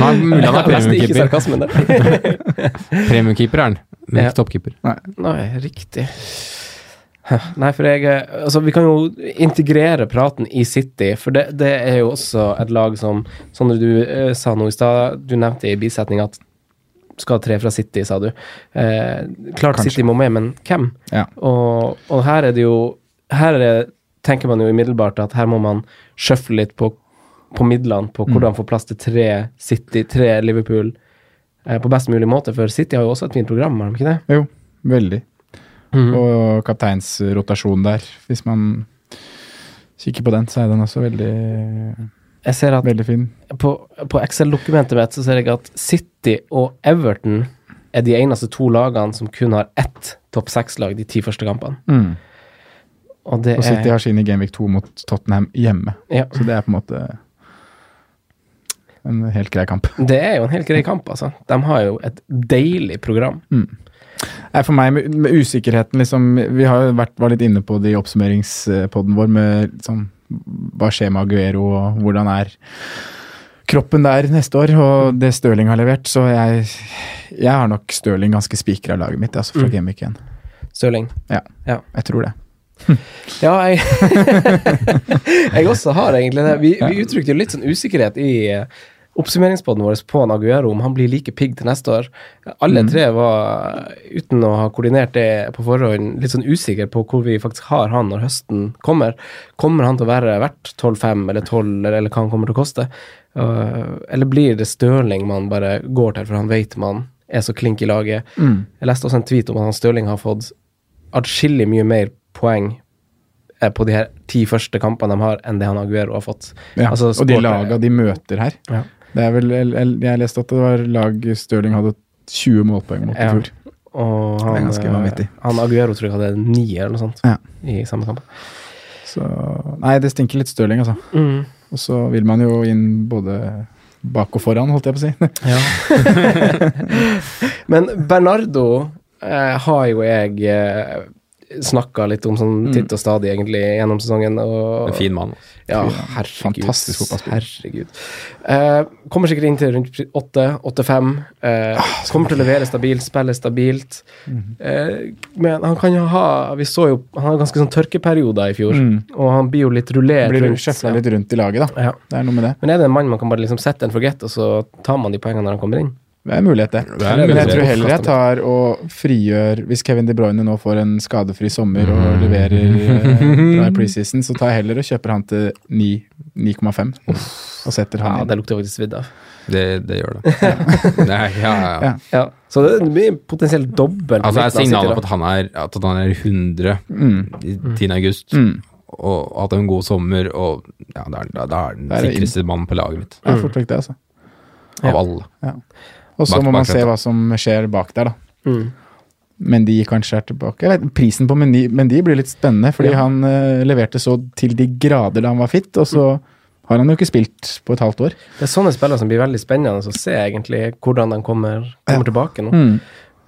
Nei, mulig han er Jeg leste ikke premiumkeeper. sarkasmen der. Premiumkeeper er han, men Ja. ikke toppkeeper. Nei, riktig. Hæ, Nei, for jeg eh, Altså, vi kan jo integrere praten i City, for det, det er jo også et lag som Sondre, du eh, sa noe i stad, du nevnte i bisetning at skal ha tre fra City, sa du. Eh, klart Kanskje. City må med, men hvem? Ja. Og, og her er det jo Her er det, tenker man jo umiddelbart at her må man sjøfle litt på, på midlene, på Mm. hvordan få plass til tre City, tre Liverpool, eh, på best mulig måte, for City har jo også et fint program, har de ikke det? Jo, veldig. Og kapteinsrotasjon der, hvis man kikker på den, så er den også veldig, Jeg ser at veldig fin. på, på Excel-dokumentet mitt så ser jeg at City og Everton er de eneste to lagene som kun har ett topp seks-lag de ti første kampene. Og det Og City er har sine Gameweek 2 mot Tottenham hjemme, ja, så det er på en måte en helt grei kamp. Det er jo en helt grei kamp, altså. De har jo et deilig program. Nei, for meg, med, med usikkerheten liksom, Vi har jo vært, var litt inne på det i oppsummeringspodden vår med liksom, hva skjer med Aguero, og hvordan er kroppen der neste år, og Mm. det Stirling har levert. Så jeg, jeg har nok Stirling ganske spikra laget mitt, altså fra Mm. Gameweek 1. Stirling. Ja, Ja. jeg tror det. Ja, jeg, jeg også har egentlig det. Vi, vi uttrykte jo litt sånn usikkerhet i eh, oppsummeringspodden vår på Naguero, om han blir like pigg til neste år. Alle tre var, uten å ha koordinert det på forhånd, litt sånn usikre på hvor vi faktisk har han når høsten kommer. Kommer han til å være verdt 12-5 eller 12, eller, eller hva han kommer til å koste? Eh, eller blir det Stirling man bare går til, for han vet man er så klink i laget? Mm. Jeg leste også en tweet om at han Stirling har fått atskillig mye mer poeng eh, på de her ti første kampene de har, enn det han Aguero har fått. Ja. Altså, og de scorer- laga de møter her Ja. det er vel, el- el- Jeg leste at det var lag Stirling hadde 20 målpoeng mot i Ja. fjor. Og Det er han, ganske eh, vanvittig. han Aguero tror jeg hadde ni eller noe sånt Ja. i samme kamp. Så Nei, det stinker litt Stirling, altså. Mm. Og så vil man jo inn både bak og foran, holdt jeg på å si. Men Bernardo eh, har jo jeg eh, snakka litt om sånn Mm. titt og stadig, egentlig, gjennom sesongen. Og, En fin mann. altså. Ja, Fy, herregud. fantastisk fotballspiller. Herregud. Eh, kommer sikkert inn til rundt 8-8-5. Ah, kommer til å levere stabilt, spille stabilt. Mhm. Eh, men han kan jo ha Vi så jo Han har ganske sånn tørkeperioder i fjor, Mm. og han blir jo litt rullert Blir rundt. sjøfla litt rundt i laget, da. Ja. Det er noe med det. Men er det en mann man kan bare liksom sette en forget, og så tar man de poengene når han kommer inn? Det er en mulighet, det. Det er en Men jeg mulighet. tror heller jeg tar og frigjør Hvis Kevin De Bruyne nå får en skadefri sommer Mm. og leverer eh, bra i preseason, så tar jeg heller og kjøper han til 9 9,5 og setter Ja, han det inn. lukter faktisk svidd av. Det, det gjør det. Nei, ja, ja, ja. Ja. Ja. Så det blir potensielt dobbelt. Altså, er midten av City, signalet da. på at han er, at han er 100 Mm. i 10. august, Mm. og hatt en god sommer, og ja, da er- da da er den Da er det inn. sikreste mannen på laget mitt. Mm. Det er fort vekk, det, altså. Av alle. Og så Bak- må man bakfra, se da. hva som skjer bak der, da. Mm. Men de kanskje er tilbake. Jeg vet, prisen på Mendy men de blir litt spennende, fordi han eh, leverte så til de grader da han var fit, og så Mm. har han jo ikke spilt på et halvt år. Det er sånne spillere som blir veldig spennende å se egentlig hvordan de kommer, kommer tilbake nå. Mm.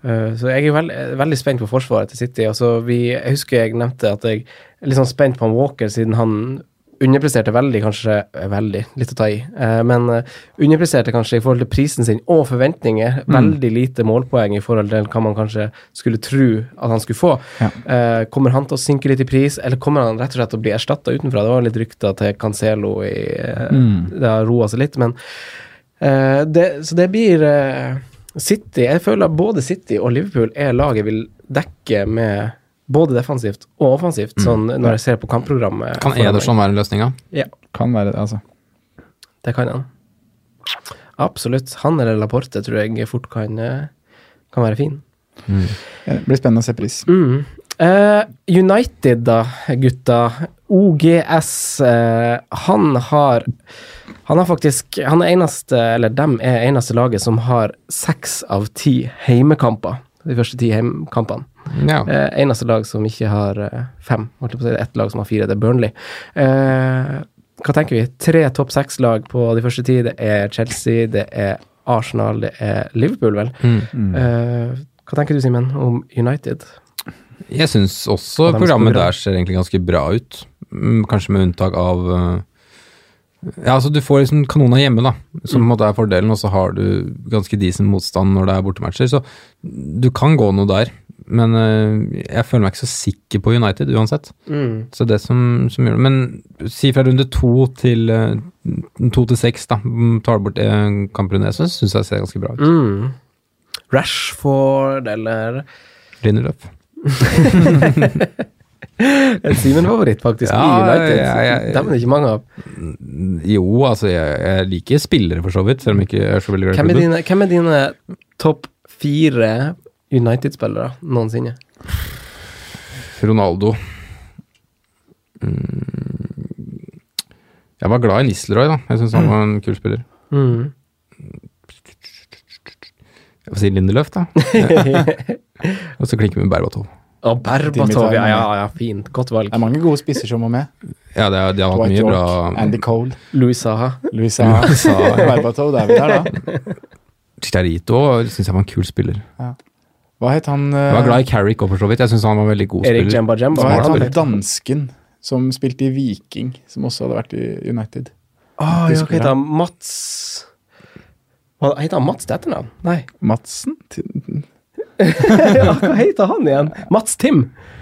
Eh, Så jeg er veld, eh, veldig spent på forsvaret til City. Altså, vi, jeg husker jeg nevnte at jeg er litt sånn spent på han Walker, siden han underpresterte veldig, kanskje eh, Veldig, litt å ta i. Eh, men eh, underpresterte kanskje i forhold til prisen sin og forventninger. Veldig lite målpoeng i forhold til hva man kanskje skulle tro at han skulle få. Ja. Eh, kommer han til å synke litt i pris, eller kommer han rett og slett til å bli erstatta utenfra? Det var litt rykter til Cancelo i eh, Det har roa seg litt, men Eh, det, så det blir eh, City Jeg føler at både City og Liverpool er laget vil dekke med både defensivt og offensivt, sånn når jeg ser på kampprogrammet. Mm. Kan foran meg. Ederson være løsninga? Ja, Kan være det, altså. det kan han. Absolutt. Han eller Laporte tror jeg fort kan, eh, kan være fin. Det blir spennende å se pris. Mm. Eh, United, da, gutta. OGS. eh, han har Han har faktisk Han er eneste, eller dem er eneste laget som har seks av ti heimekamper. De første ti heimkampene. Ja. Eh, eneste lag som ikke har eh, fem. Holdt jeg på å si. Det er ett lag som har fire, det er Burnley. Eh, hva tenker vi? Tre topp seks-lag på de første ti. Det er Chelsea, det er Arsenal, det er Liverpool, vel. Eh, hva tenker du, Simen, om United? Jeg syns også Og dem programmet skoger, da. der ser egentlig ganske bra ut. Mm, Kanskje med unntak av eh, Ja, altså du får liksom kanona hjemme, da, som Mm. på en måte er fordelen, og så har du ganske decent motstand når det er bortematcher, så du kan gå noe der. Men eh, jeg føler meg ikke så sikker på United uansett. Mm. Så det som, som gjør det Men si fra runde to til eh, to til seks, da. Mm, Tar du bort eh, kamprunde, så syns jeg det ser ganske bra ut. Mm. Rashford eller Lindeløf. En Simen-favoritt, faktisk, Ja, i United. ja, ja, ja. Dem er det ikke mange av. Jo, altså jeg, jeg liker spillere for så vidt, selv om jeg ikke er så veldig glad i Hvem er klubben. dine, hvem er dine topp fire United-spillere noensinne? Ronaldo. Mm. Jeg var glad i Nisleroy, da. Jeg syns han var en kul spiller. Mm. Jeg får si Lindeløf, da. Og så klinker vi med Berbatov. Og Berbatov, Dimitar, ja, ja. ja, ja, fint. Godt valg. Det er mange gode spisser som må med. Ja, det er, de har hatt Dwight mye York, bra Andy Cole, Louis Saha. Luisa Berbatov. Da er vi der, da. Chicharito syns jeg var en kul spiller. Hva het han eh, Jeg var glad i Carrick òg, for så vidt. Jeg syns han var en veldig god Erik spiller. Jemba Jemba. Hva var het han han vel? dansken som spilte i Viking, som også hadde vært i United? Åh, ja, hva heter Spiller. han? Mats Hva heter han Mats til etternavn? Nei. Madsen? ja, hva heter han igjen? Mats Tim.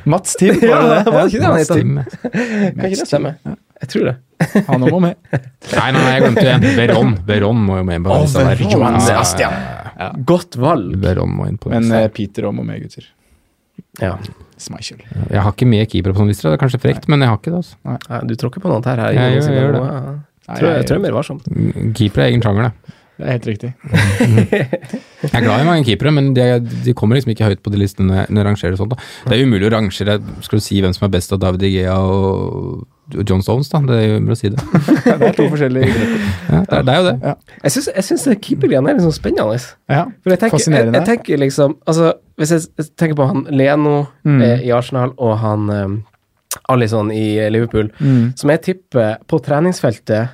Mats Tim, var det ja, det? var det ikke det han het? Mats Tim. Kan ikke det stemme? Jeg tror det. Han òg må med. Nei, nei, nei, jeg glemte en. Veron. Veron må jo med. på den lista der. Veron, Ja, Sebastian. ja, ja. Godt valg. Veron må inn på den Men lista. eh, Peter òg må med, gutter. Ja. Smeichel. Jeg har ikke med keeper på sånn lister, det er kanskje frekt, men jeg har ikke det. altså. Nei, Du tråkker på noe her. her Jeg gjør- Jonas, jeg gjør det. Ja, ja. Tror jeg, jeg tror jeg er mer varsomt. Keeper er egen sjanger, det. Det er helt riktig. Jeg er glad i mange keepere, men de, er- de kommer liksom ikke høyt på de listene når jeg- når jeg rangerer sånt. da. Det er umulig å rangere Skal du si hvem som er best av David Igea og og John Stones, da? Det er umulig å si det. Ja, Det er to forskjellige grupper. Ja, det, er, det er jo det. Jeg syns, jeg syns keepergreiene er litt sånn spennende. Ja, For jeg tenker, jeg, Fascinerende. jeg tenker liksom altså, Hvis jeg s- tenker på han Leno Mm. eh, i Arsenal og han eh, Alison i eh, Liverpool, Mm. som jeg tipper på treningsfeltet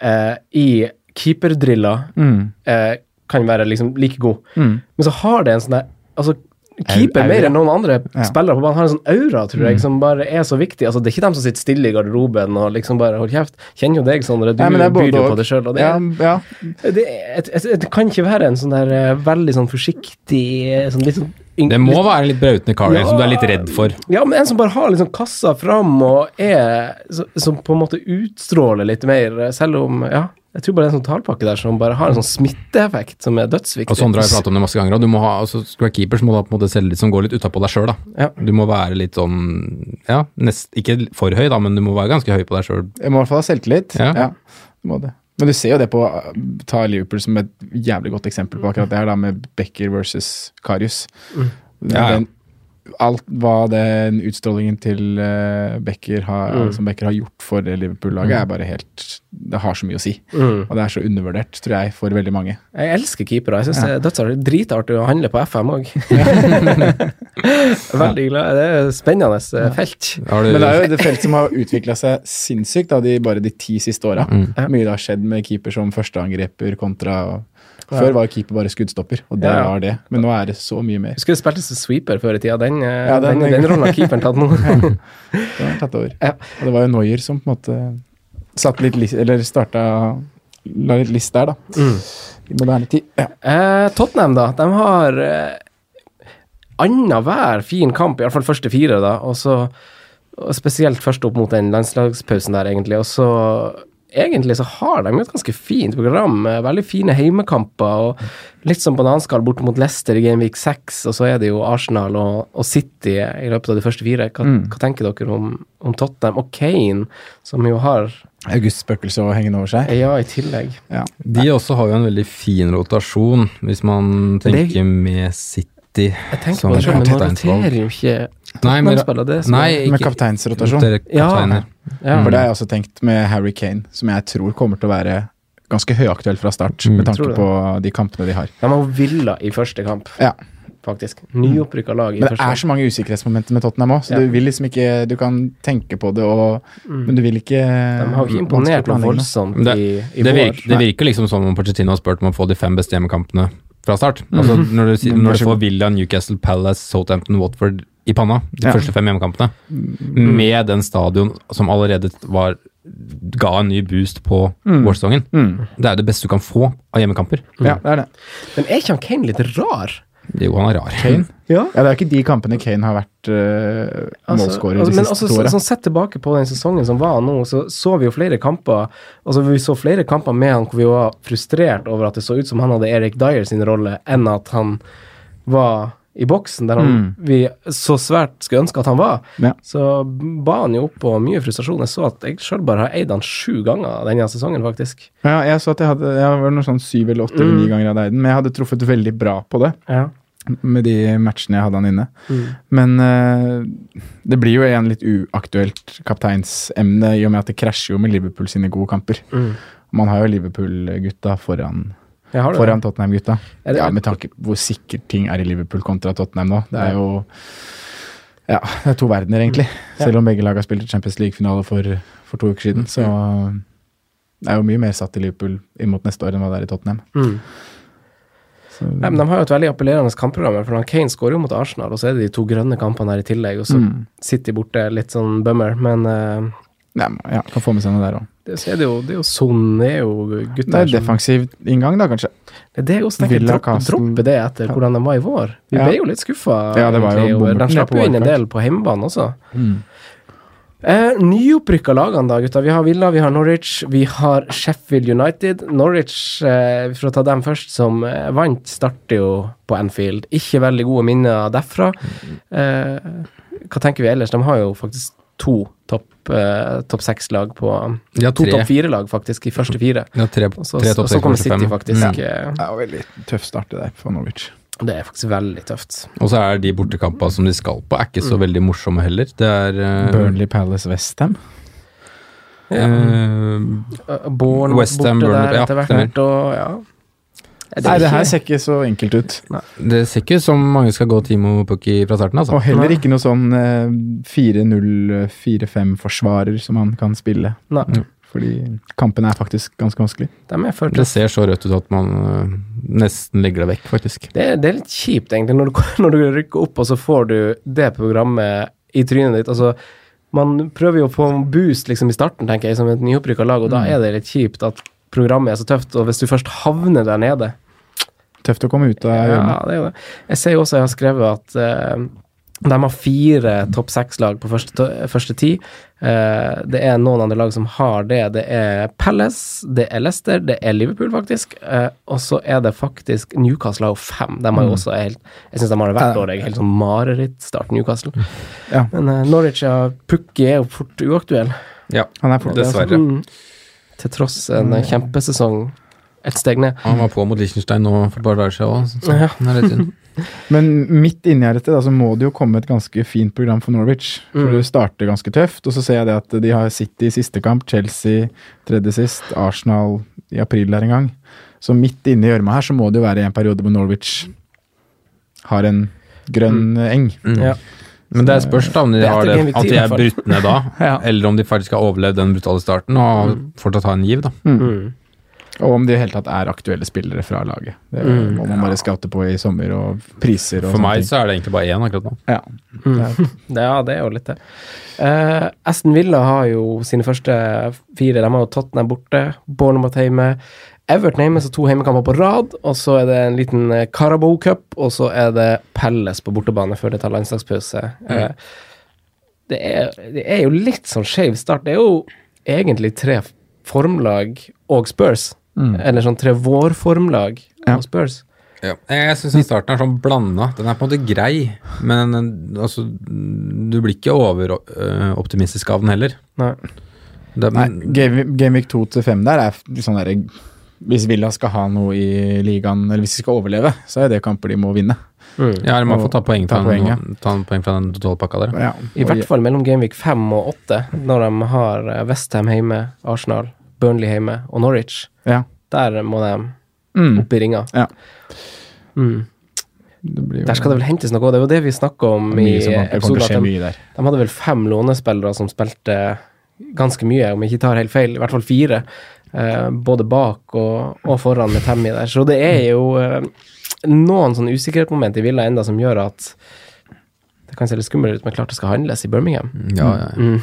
eh, i keeperdriller Mm. eh, kan være liksom like god. Mm. Men så har det en sånn der altså, Keeper Au- aura. mer enn noen andre Ja. Mm. spillere på banen har en sånn aura, tror jeg, som bare er så viktig. Altså, det er ikke dem som sitter stille i garderoben og liksom bare holder kjeft. Kjenner jo deg, Sondre. Du Nei, men det er både byr jo og. på det sjøl. Og det, Ja, er- ja. det, er- et- et- det kan ikke være en sånn der eh, veldig sånn forsiktig eh, sånn litt sånn yng- Det må være en litt brautende kar der, som du er litt redd for. Ja, men en som bare har liksom kassa fram og er så- Som på en måte utstråler litt mer, eh, selv om Ja. Jeg tror bare det er en sånn tallpakke der som bare har en sånn smitteeffekt som er dødsviktig. Og sånn Sondre har jo pratet om det masse ganger, og du må ha, altså, skal du være keeper, så må du ha på en måte selvtillit som går litt utapå deg sjøl, da. Ja. Du må være litt sånn, ja, nest, ikke for høy, da, men du må være ganske høy på deg sjøl. Jeg må i hvert fall ha selvtillit. Ja. Ja. du må det. Men du ser jo det på uh, Ta Liverpool som et jævlig godt eksempel på akkurat det her, da, med Becker versus Karius. Mm. Ja, ja. Den, alt hva den utstrålingen til uh, Becker har, Mm. som Becker har gjort for det Liverpool-laget, er bare helt Det har så mye å si. Hm. Og det er så undervurdert, tror jeg, for veldig mange. Mm. Jeg elsker keepere. Jeg syns det er dødsartig. Dritartig å handle på FM òg. Veldig glad. Det er et spennende eh, felt. Har du, Men det er jo det felt som har utvikla seg sinnssykt da, de, bare de ti siste åra. Mye det har skjedd med keeper som førsteangreper kontra Før var jo keeper bare skuddstopper, og det Ja, ja. var det. Men nå er det så mye mer. Husker du spilte som sweeper før i tida? Den, eh, Ja, den, den- den, rollen har keeperen tatt nå. Det har tatt over. Ja. Og det var jo Neuer som på en måte satt litt lis- Eller starta La litt list der, da. I moderne tid. Ja. Eh, Tottenham, da. De har eh, annenhver fin kamp, iallfall første fire, da. Og så og Spesielt først opp mot den landslagspausen der, egentlig. Og så Egentlig så har de jo et ganske fint program. eh, Veldig fine heimekamper. og Litt som bananskall bort mot Leicester i Game Week 6, og så er det jo Arsenal og, og City i løpet av de første fire. Hva, hva tenker dere om, om Tottenham og Kane, som jo har August-spøkelset å henge over seg. Ja, i tillegg? Ja. de også har jo en veldig fin rotasjon, hvis man det- tenker med City Jeg tenker som på det selv, men man kapteinsvalg. roterer jo ikke Nei, men, Tottenham-spillere, det som nei, er- ikke Med kapteinsrotasjon. roterer kapteiner. Ja. For det har jeg også tenkt med Harry Kane, som jeg tror kommer til å være ganske høyaktuell fra start, med Tror tanke du det? på de kampene de har. De var villa i første kamp, Ja. faktisk. Nyopprykka lag i Men første det er kamp. så mange usikkerhetsmomenter med Tottenham òg, så Ja. Mm. du vil liksom ikke Du kan tenke på det og Men du vil ikke De har jo ikke imponert noe voldsomt Det- i, i det, vår. virker, det virker liksom som om Pochettino har spurt om å få de fem beste hjemmekampene fra start. Altså, når, du, si- Men når kanskje- du får Villa, Newcastle, Palace, Southampton, Watford i panna, de Ja. første fem hjemmekampene, med den stadion som allerede var ga en ny boost på vårsesongen. Det er jo det beste du kan få av hjemmekamper. Ja, det er det. Men er ikke han Kane litt rar? Jo, han er rar. Ja, det er jo ikke de kampene Kane har vært uh, Altså, målskårer altså, de men siste også, to åra. sånn Sett tilbake på den sesongen som var nå, så så vi jo flere kamper altså Vi så flere kamper med han hvor vi var frustrert over at det så ut som han hadde Erik Dyer sin rolle, enn at han var i boksen, der han, Mm. vi så svært skulle ønske at han var. Ja. Så ba han jo opp på mye frustrasjon. Jeg så at jeg sjøl bare har eid han sju ganger denne sesongen, faktisk. Ja, jeg så at jeg hadde Jeg var noe sånn syv eller åtte Mm. eller ni ganger av Deiden, men jeg hadde truffet veldig bra på det Ja. med de matchene jeg hadde han inne. Mm. Men eh, det blir jo igjen litt uaktuelt kapteinsemne i og med at det krasjer jo med Liverpool sine gode kamper. Man har jo Liverpool-gutta foran Jeg Mm. har det. foran Tottenham-gutta. Er det- Ja, Med tanke på hvor sikkert ting er i Liverpool kontra Tottenham nå. Det er jo ja, det er to verdener, egentlig. Mm. Selv om begge lag har spilt Champions League-finale for, for to uker siden, så Mm. det er jo mye mer satt i Liverpool imot neste år enn hva det er i Tottenham. Mm. Så- Nei, men De har jo et veldig appellerende kampprogram. For han Kane skårer jo mot Arsenal, og så er det de to grønne kampene her i tillegg. Og så Mm. City borte, litt sånn bummer. Men eh, Nei, men, ja, kan få med seg noe der òg. Det, så er det, jo, det er jo Son er jo gutter Det er som- defensiv inngang, da, kanskje. Det er det jeg også tenker. Villa, Droppe, Castle. droppe det etter hvordan de var i vår. Vi Ja. ble jo litt skuffa. Ja, det var jo bomben De ned slapp på jo inn en wildcard. del på hjemmebane også. Mm. Eh, Nyopprykka lagene, da, gutta. Vi har Villa, vi har Norwich, vi har Sheffield United. Norwich, eh, for å ta dem først, som eh, vant, starter jo på Anfield. Ikke veldig gode minner derfra. Eh, hva tenker vi ellers? De har jo faktisk to topp eh, topp seks-lag på De har To tre. topp fire-lag, faktisk, i første fire. Ja, tre, Og så, tre og topp så seks kommer første fem. City, faktisk. Ja. eh, Det var veldig tøff start det der for Norwich. Det er faktisk veldig tøft. Og så er de bortekampene som de skal på, er ikke så veldig morsomme heller. Det er eh, Burnley Palace Westham. eh, Uh, Bournemouth West Ham, borte Burnley, der ja, etter hvert, stemmer. og ja. Er Nei, det ikke- her ser ikke så enkelt ut. Det ser ikke ut som mange skal gå Timo Pukki fra starten, altså. Og heller ikke noe sånn eh, 4-0-4-5-forsvarer som han kan spille. Nei, Mm. Fordi kampen er faktisk ganske vanskelig. de er for Det tøffe. ser så rødt ut at man eh, nesten legger det vekk, faktisk. Det, er- det er litt kjipt, egentlig, når du, når du rykker opp, og så får du det programmet i trynet ditt. Altså, man prøver jo å få en boost liksom, i starten, tenker jeg, som et nyopprykka lag, og Mm. da er det litt kjipt at programmet er så tøft, og hvis du først havner der nede Tøft å komme ut av Ja, hjørnet. det er jo det. Jeg ser jo også jeg har skrevet at eh, de har fire topp seks-lag på første, to- første ti. Eh, det er noen andre lag som har det. Det er Palace, det er Leicester, det er Liverpool, faktisk. Eh, og så er det faktisk Newcastle har jo fem. De har jo også helt Jeg syns de har det hvert år. Jeg er helt sånn marerittstart, Newcastle. Ja. Men eh, Norwich og Pukki er jo fort uaktuell, Mm. Ja, Han er fort, dessverre. til tross en eh, kjempesesong et steg ned. Han var på mot Liechtenstein nå for et par dager siden også, så Ja. det er litt synd. Men midt inni her etter da, så må det jo komme et ganske fint program for Norwich. For Mm. det starter ganske tøft, og så ser jeg det at de har City i siste kamp, Chelsea tredje sist, Arsenal i april der en gang. Så midt inni gjørma her så må det jo være en periode hvor Norwich har en grønn Mm. eng. Ja. Men det er spørs da om de Det er har etter det, Game Week at de 10 i er hvert brutt ned da, Ja. eller om de faktisk har overlevd den brutale starten og Mm. fortsatt har en giv, da. Og om de i hele tatt er aktuelle spillere fra laget. Det må man bare scoute på i sommer, og priser og Mm. For meg sånne ting. så er det egentlig bare én akkurat nå. Ja. Det- Ja, det er jo litt det. Eh, Aston Villa har jo sine første fire. De har jo Tottenham borte, Bournemouth hjemme, Everton hjemme, så to hjemmekamper på rad. Og så er det en liten eh, Carabao Cup, og så er det Pelles på bortebane før det tar landslagspause. Eh, det, er, det er jo litt sånn skeiv start. Det er jo egentlig tre formlag og Spurs. Eller sånn tre vårformlag Ja. og Spurs. Ja. Jeg syns starten er sånn blanda. Den er på en måte grei, men den- altså, du blir ikke overoptimistisk av den heller. Nei. Det, Nei, Game Game Week 2 til 5 der er sånn derre Hvis Villa skal ha noe i ligaen, eller hvis de skal overleve, så er det kamper de må vinne. ja, man får ta poeng fra, Ta poeng, ja. den, ta en poeng fra den totalpakka der. Ja, I hvert fall mellom Gameweek 5 og 8, når de har eh, West Ham hjemme, Arsenal, Burnley hjemme og Norwich. Ja. Der må de Mm. opp i ringa. Ja. Mm. Det blir jo Der skal det vel hentes noe, og det var det vi snakka om i mye som kommer- det episoden. kommer til å At skje de, mye der. de hadde vel fem lånespillere som spilte ganske mye, om jeg ikke tar helt feil. I hvert fall fire. eh, både bak og, og foran med Tammy der. Så det er jo eh, noen sånne usikkerhetsmoment i Villa enda som gjør at det kan se litt skummelt ut, men klart det skal handles i Birmingham. Ja, ja, ja.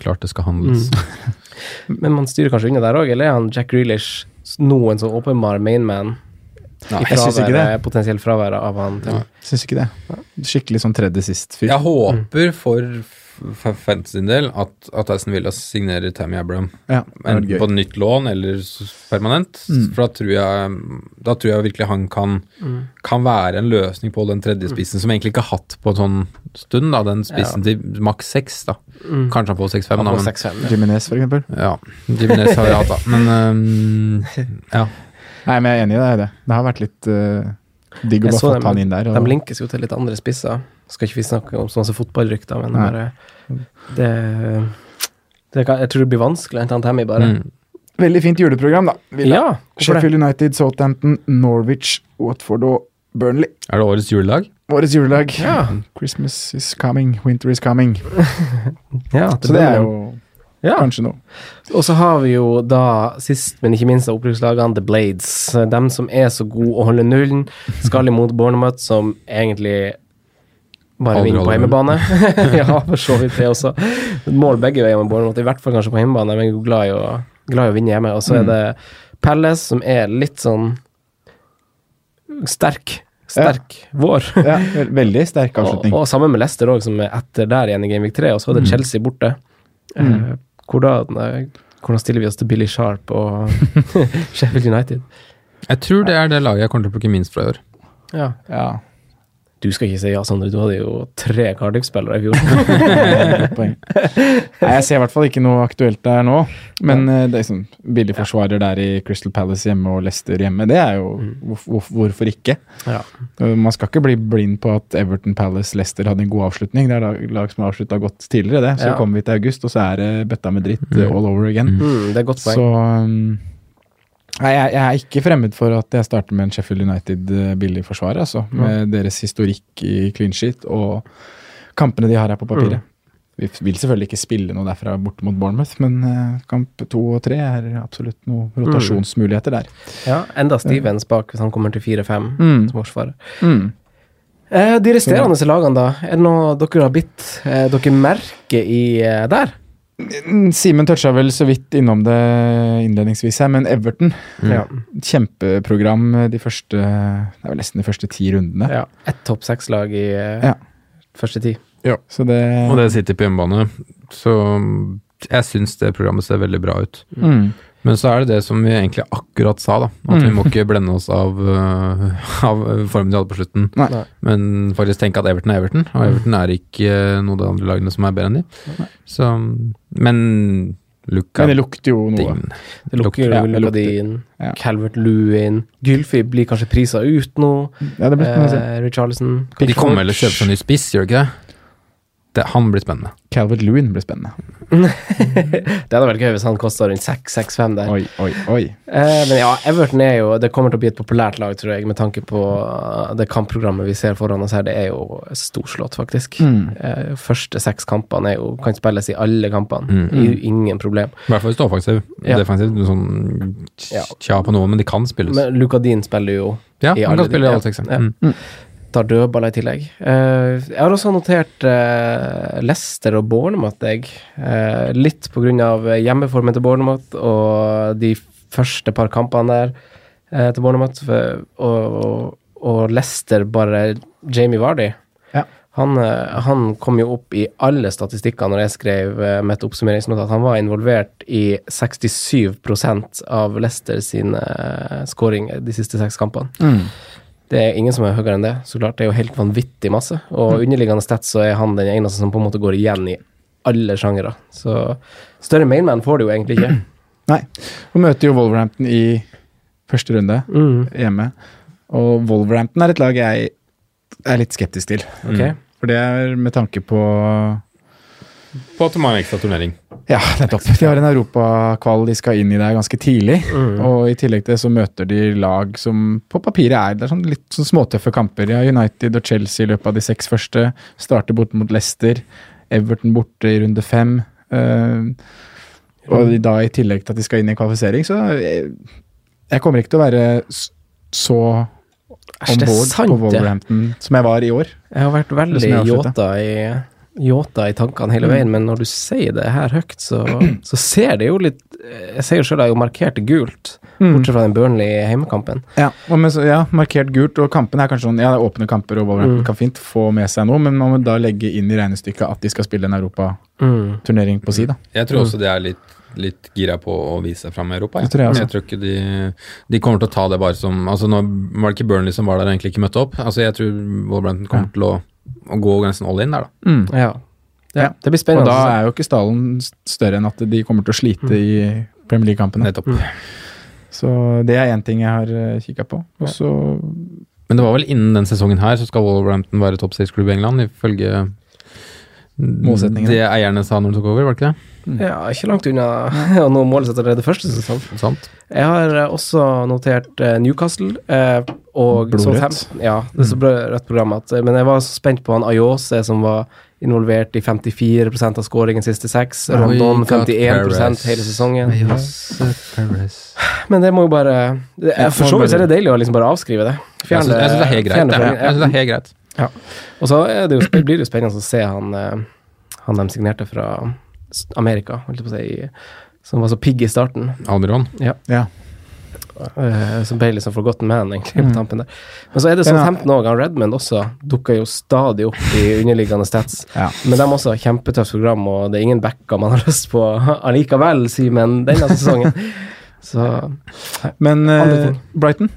Klart det Mm. skal handles. Men man styrer kanskje unna der òg, eller er han Jack Grealish noen som åpenbar mainman? I jeg synes ikke fraværet, potensielt fravær av han. Til. Syns ikke det. Skikkelig sånn tredje sist-fyr. Jeg Mm. håper for, for fans sin del at, at Aston Villa signerer Tammy Abraham. Ja, det hadde vært Enten gøy. Mm. på nytt lån eller s- permanent. For da tror, jeg, da tror jeg virkelig han kan, kan være en løsning på den tredje Mm. spissen som egentlig ikke har hatt på en sånn stund. da, Den spissen til maks seks. da. Mm. Kanskje han får seks-fem, da. Han får Men, 6-5. Jiminez, for eksempel. ja, Jimenez har vi hatt, da. Men ehm, øhm, ja. Nei, men jeg er enig i deg i det. Det har vært litt eh, digg å Jeg bare så få han dem, inn der. de linkes jo til litt andre spisser. Skal ikke vi snakke om sånne som fotballrykter, men Nei. bare det, det kan, Jeg tror det blir vanskelig å hente han Tammy, bare. Mm. Veldig fint juleprogram, da. Villa. Ja, hvorfor det? Sheffield United, Southampton, Norwich, Watford og Burnley. Er det årets julelag? Årets julelag. Ja. Christmas is coming, winter is coming. Ja, Så det er jo ja. kanskje noe. Og så har vi jo da, sist men ikke minst av opprykkslagene, The Blades. Dem som er så gode å holde nullen, skal imot Bournemouth, som egentlig Bare Aldri vinne på holder hjemmebane. ja, for så vidt det også. Mål begge veier med Bournemouth, i hvert fall kanskje på hjemmebane. Men jeg er glad i å, glad i å vinne hjemme. Og så Mm. er det Palace, som er litt sånn sterk. Sterk vår. Ja, ve- veldig sterk og, avslutning. og sammen med Leicester òg, som er etter der igjen i Gameweek 3. Og så er det Mm. Chelsea borte. Mm. Eh, hvordan, eh, hvordan stiller vi oss til Billy Sharp og Sheffield United? Jeg tror det er det laget jeg kommer til å plukke minst fra i år. Ja. Ja, Du skal ikke si ja, Sondre. Du hadde jo tre Cardiff-spillere i fjor. godt poeng. Nei, jeg ser i hvert fall ikke noe aktuelt der nå. Men eh, det er sånn, billig forsvarer der i Crystal Palace hjemme og Leicester hjemme, det er jo hvorf- hvorf- Hvorfor ikke? Mm. ja. Eh, Man skal ikke bli blind på at Everton Palace Leicester hadde en god avslutning. Det er lag, lag som har avslutta godt tidligere, det. Så Ja. kommer vi til august, og så er det bøtta med dritt eh, all over again. Mm, det er et godt poeng. Så um, Nei, jeg, jeg er ikke fremmed for at jeg starter med en Sheffield United-billig forsvarer, altså. Med deres historikk i clean sheet og kampene de har her på papiret. Mm. Vi f- vil selvfølgelig ikke spille noe derfra borte mot Bournemouth, men eh, kamp to og tre er absolutt noen Mm. rotasjonsmuligheter der. Ja, enda Stevens bak hvis han kommer til 4-5 Mm. som forsvarer. Mm. Eh, de resterende lagene, da? Er det noe dere har bitt eh, dere merker i eh, der? Mm, Simen toucha vel så vidt innom det innledningsvis her, men Everton Mm. Ja. Kjempeprogram eh, de første Det er vel nesten de første ti rundene. ja. Ett topp seks-lag i eh, Ja. første ti. Så det, Og det sitter på hjemmebane. Så jeg syns det programmet ser veldig bra ut. mm. Men så er det det som vi egentlig akkurat sa, da. At vi må ikke blende oss av, øh, av formen de hadde på slutten. Nei. Nei. Men faktisk tenke at Everton er Everton, og Everton er ikke øh, noen av de andre lagene som er bedre enn de. Så, men Luka Men det lukter jo noe. Ding. Det lukker Lukter- ja, jo det Lukadin, Ja. Calvert Lewin Gylfi blir kanskje prisa ut nå. Ja, det blir spennende å se. Eh, Richarlison. De kommer vel til å kjøpe seg ny spiss, gjør de ikke det? det? Han blir spennende. Calvert Lewin blir spennende. Det hadde vært gøy hvis han kosta rundt 6-6-5 der. Oi, oi, oi. Eh, men ja, Everton er jo Det kommer til å bli et populært lag, tror jeg, med tanke på eh, det kampprogrammet vi ser foran oss her. Det er jo storslått, faktisk. Mm. Eh, første seks kampene er jo, kan spilles i alle kampene. Mm. Det er jo ingen problem. I hvert fall hvis du er offensiv. Ja. Defensivt, noe sånn Ja. tja på noe, men de kan spilles. Men Lukadin spiller jo ja, i han alle kan spille de- i alle seks. ja. Mm. tar dødballer i tillegg. Eh, jeg har også notert eh, Leicester og Bournemouth, jeg. Eh, litt på grunn av hjemmeformen til Bournemouth og de første par kampene der eh, til Bournemouth. For- Og, og, og Leicester bare Jamie Vardy. Ja. Han, eh, han kom jo opp i alle statistikker når jeg skrev eh, mitt oppsummeringsnotat. Han var involvert i 67 av Leicester sine eh, skåringer de siste seks kampene. Det er ingen som er høyere enn det, så klart. Det er jo helt vanvittig masse. Og underliggende sett så er han den eneste som på en måte går igjen i alle sjangere. Så større mainman får du jo egentlig ikke. Nei. Og møter jo Wolverhampton i første runde hjemme. Og Wolverhampton er et lag jeg er litt skeptisk til. Ok? For det er med tanke på På at de har en ekstra turnering. Ja, nettopp. De har en europakvall de skal inn i der ganske tidlig. Mm. Og i tillegg til det så møter de lag som på papiret er det er sånn litt sånn småtøffe kamper. Ja, United og Chelsea i løpet av de seks første. Starter borte mot Leicester. Everton borte i runde fem. Eh, og de da i tillegg til at de skal inn i kvalifisering, så jeg, jeg kommer ikke til å være s- så Æsj, on det er board sant, på det. Wolverhampton som jeg var i år. Jeg har vært veldig Det er som jeg Mm. avslutta. yota i, yota i tankene hele veien, men når du sier det her høyt, så, så ser det jo litt Jeg ser jo sjøl jeg har jo markert det gult, Mm. bortsett fra den Burnley-heimekampen. Ja, og men så- ja, markert gult, og kampene er kanskje sånn, ja, det er åpne kamper, og Wolverhampton Mm. kan fint få med seg noe, men man må da legge inn i regnestykket at de skal spille en europaturnering på si, da. Jeg tror også de er litt, litt gira på å vise seg fram i Europa. ja. Mm. Det tror jeg også. Men tror ikke de, de kommer til å ta det bare som altså Nå var det ikke Burnley som var der og egentlig ikke møtte opp. Altså Jeg tror Wolverhampton kommer til å, å gå nesten all in der, da. Mm. Ja. Ja. Det blir Og spennende. Mm. å se. da er jo ikke stallen s- større enn at de kommer til å slite i Premier League-kampene. Nettopp. Så det er én ting jeg har eh, kikket på. Og så Men det var vel innen den sesongen her så skal Wolverhampton være topp six-klubb i England, ifølge Målsettingen. Det eierne sa når de tok over, var det ikke det? Mm. ja, ikke langt unna å nå målet sitt allerede første sesong. Sant? Jeg har eh, også notert eh, Newcastle eh, og Blodrødt. Southampton. Ja, det er Mm. så bra- rødt program at eh, Men jeg var så spent på han Ayose som var involvert i 54 av skåringen siste seks. Rondon Oi, God 51 Perez. hele sesongen. Perez. Men det må jo bare det, eh, For så vidt er det deilig å liksom bare avskrive det. Jeg syns det er helt greit. fjerne det. fra- Jeg synes det er helt greit. Ja. Og så er det jo, det blir det jo spennende å se han, eh, han de signerte fra S- Amerika, holdt jeg på å si, som var så pigg i starten. Almiron? Ja. Eh, som ble litt sånn forgotten man, egentlig, Mm. på tampen der. Men så er det Den sånn er- 15 år, han Redmond også dukker jo stadig opp i underliggende stats. Ja. Men de også har kjempetøft program, og det er ingen backer man har lyst på allikevel, Simen, denne sesongen. Så Men Andre eh, ting. Brighton,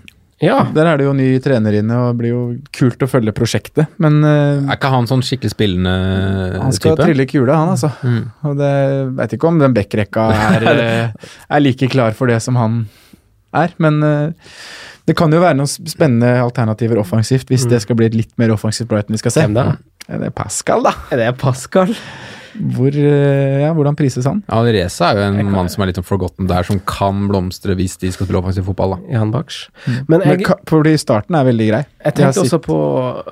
ja. der er det jo ny trener inne, og det blir jo kult å følge prosjektet. Men eh, Er ikke han sånn skikkelig spillende Eh, han skal type? trille kula, han altså. Mm. Og det veit ikke om den backrekka er, eh, er like klar for det som han er. Men eh, det kan jo være noen sp- spennende alternativer offensivt, hvis det skal bli et litt mer offensivt Brighton vi skal se. Mm. Hvem da? Ja, Det er Pascal, da. Er det Pascal? Hvor, eh, ja, hvordan prises han? Ja, Reza er jo en mann som er litt sånn forgotten der, som kan blomstre hvis de skal spille offensiv fotball. da. I han baks. Men Mm. Men jeg, ka- fordi starten er veldig grei. Jeg Jeg har tenkte også på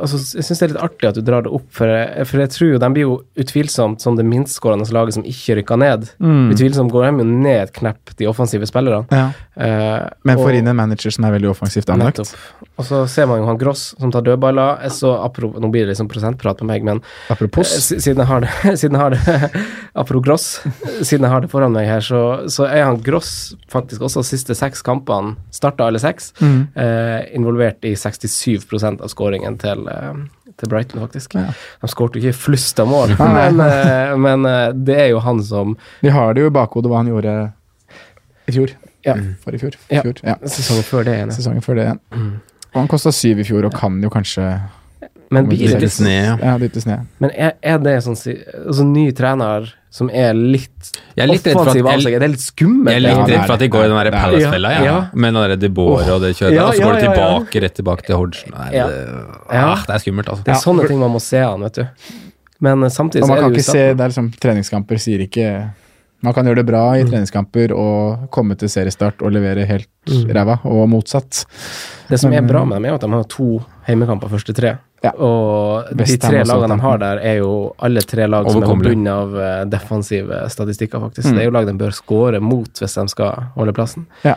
altså, Jeg syns det er litt artig at du drar det opp, for jeg, for jeg tror jo de blir jo utvilsomt som det minstskårende laget som ikke rykker ned. Mm. Utvilsomt går de jo ned et knepp, de offensive spillerne. Ja. Eh, Men og- får inn en manager som er veldig offensivt anlagt. Nettopp. Og så ser man jo han Gross som tar dødballer. Jeg så, apro, nå blir det liksom prosentprat på meg, men Eh, Apropos. si- Siden jeg har det, siden jeg har det Apropos Gross, siden jeg har det foran meg her, så, så er han Gross faktisk også de siste seks kampene, starta alle seks, Mm. eh, involvert i 67 av skåringen til, eh, til Brighton, faktisk. De skårte jo ikke flust av mål, Nei. men, eh, men eh, det er jo han som Vi har det jo i bakhodet hva han gjorde i fjor. Ja. For i fjor. Ja. fjor. Ja. Sesongen før det igjen. ja. Sesongen før det igjen. Og han kosta syv i fjor, og kan jo kanskje Men blir det Litt ned, ja. ja, dyttes ned. Men er, er det sånn si- altså, ny trener som er litt, Jeg er litt redd for at- offensiv av jeg- seg? Er det litt skummelt? Jeg er Ja, litt det redd er for at de det. går i den der Det er det. Palace-fella, ja. Ja. Med den der De Boer og det kjøret, Ja, og så går de ja, ja, ja. tilbake, rett tilbake til Hodgson. Nei, Ja. det, Ja. ah, det er skummelt, altså. Det er sånne ting man må se an, vet du. Men eh, samtidig så Og man er kan det jo ikke se, starten. det er liksom treningskamper sier ikke Man kan gjøre det bra Mm. i treningskamper og komme til seriestart og levere helt Mm. ræva, og motsatt. Det som er Men, bra med dem, er jo at de har to heimekamper første tre. Ja. Og de West Ham tre lagene og de har Southampton. der, er jo alle tre lag som er Overkommelig. bundet av eh, defensive statistikker, faktisk. Mm. Det er jo lag de bør skåre mot hvis de skal holde plassen. Ja.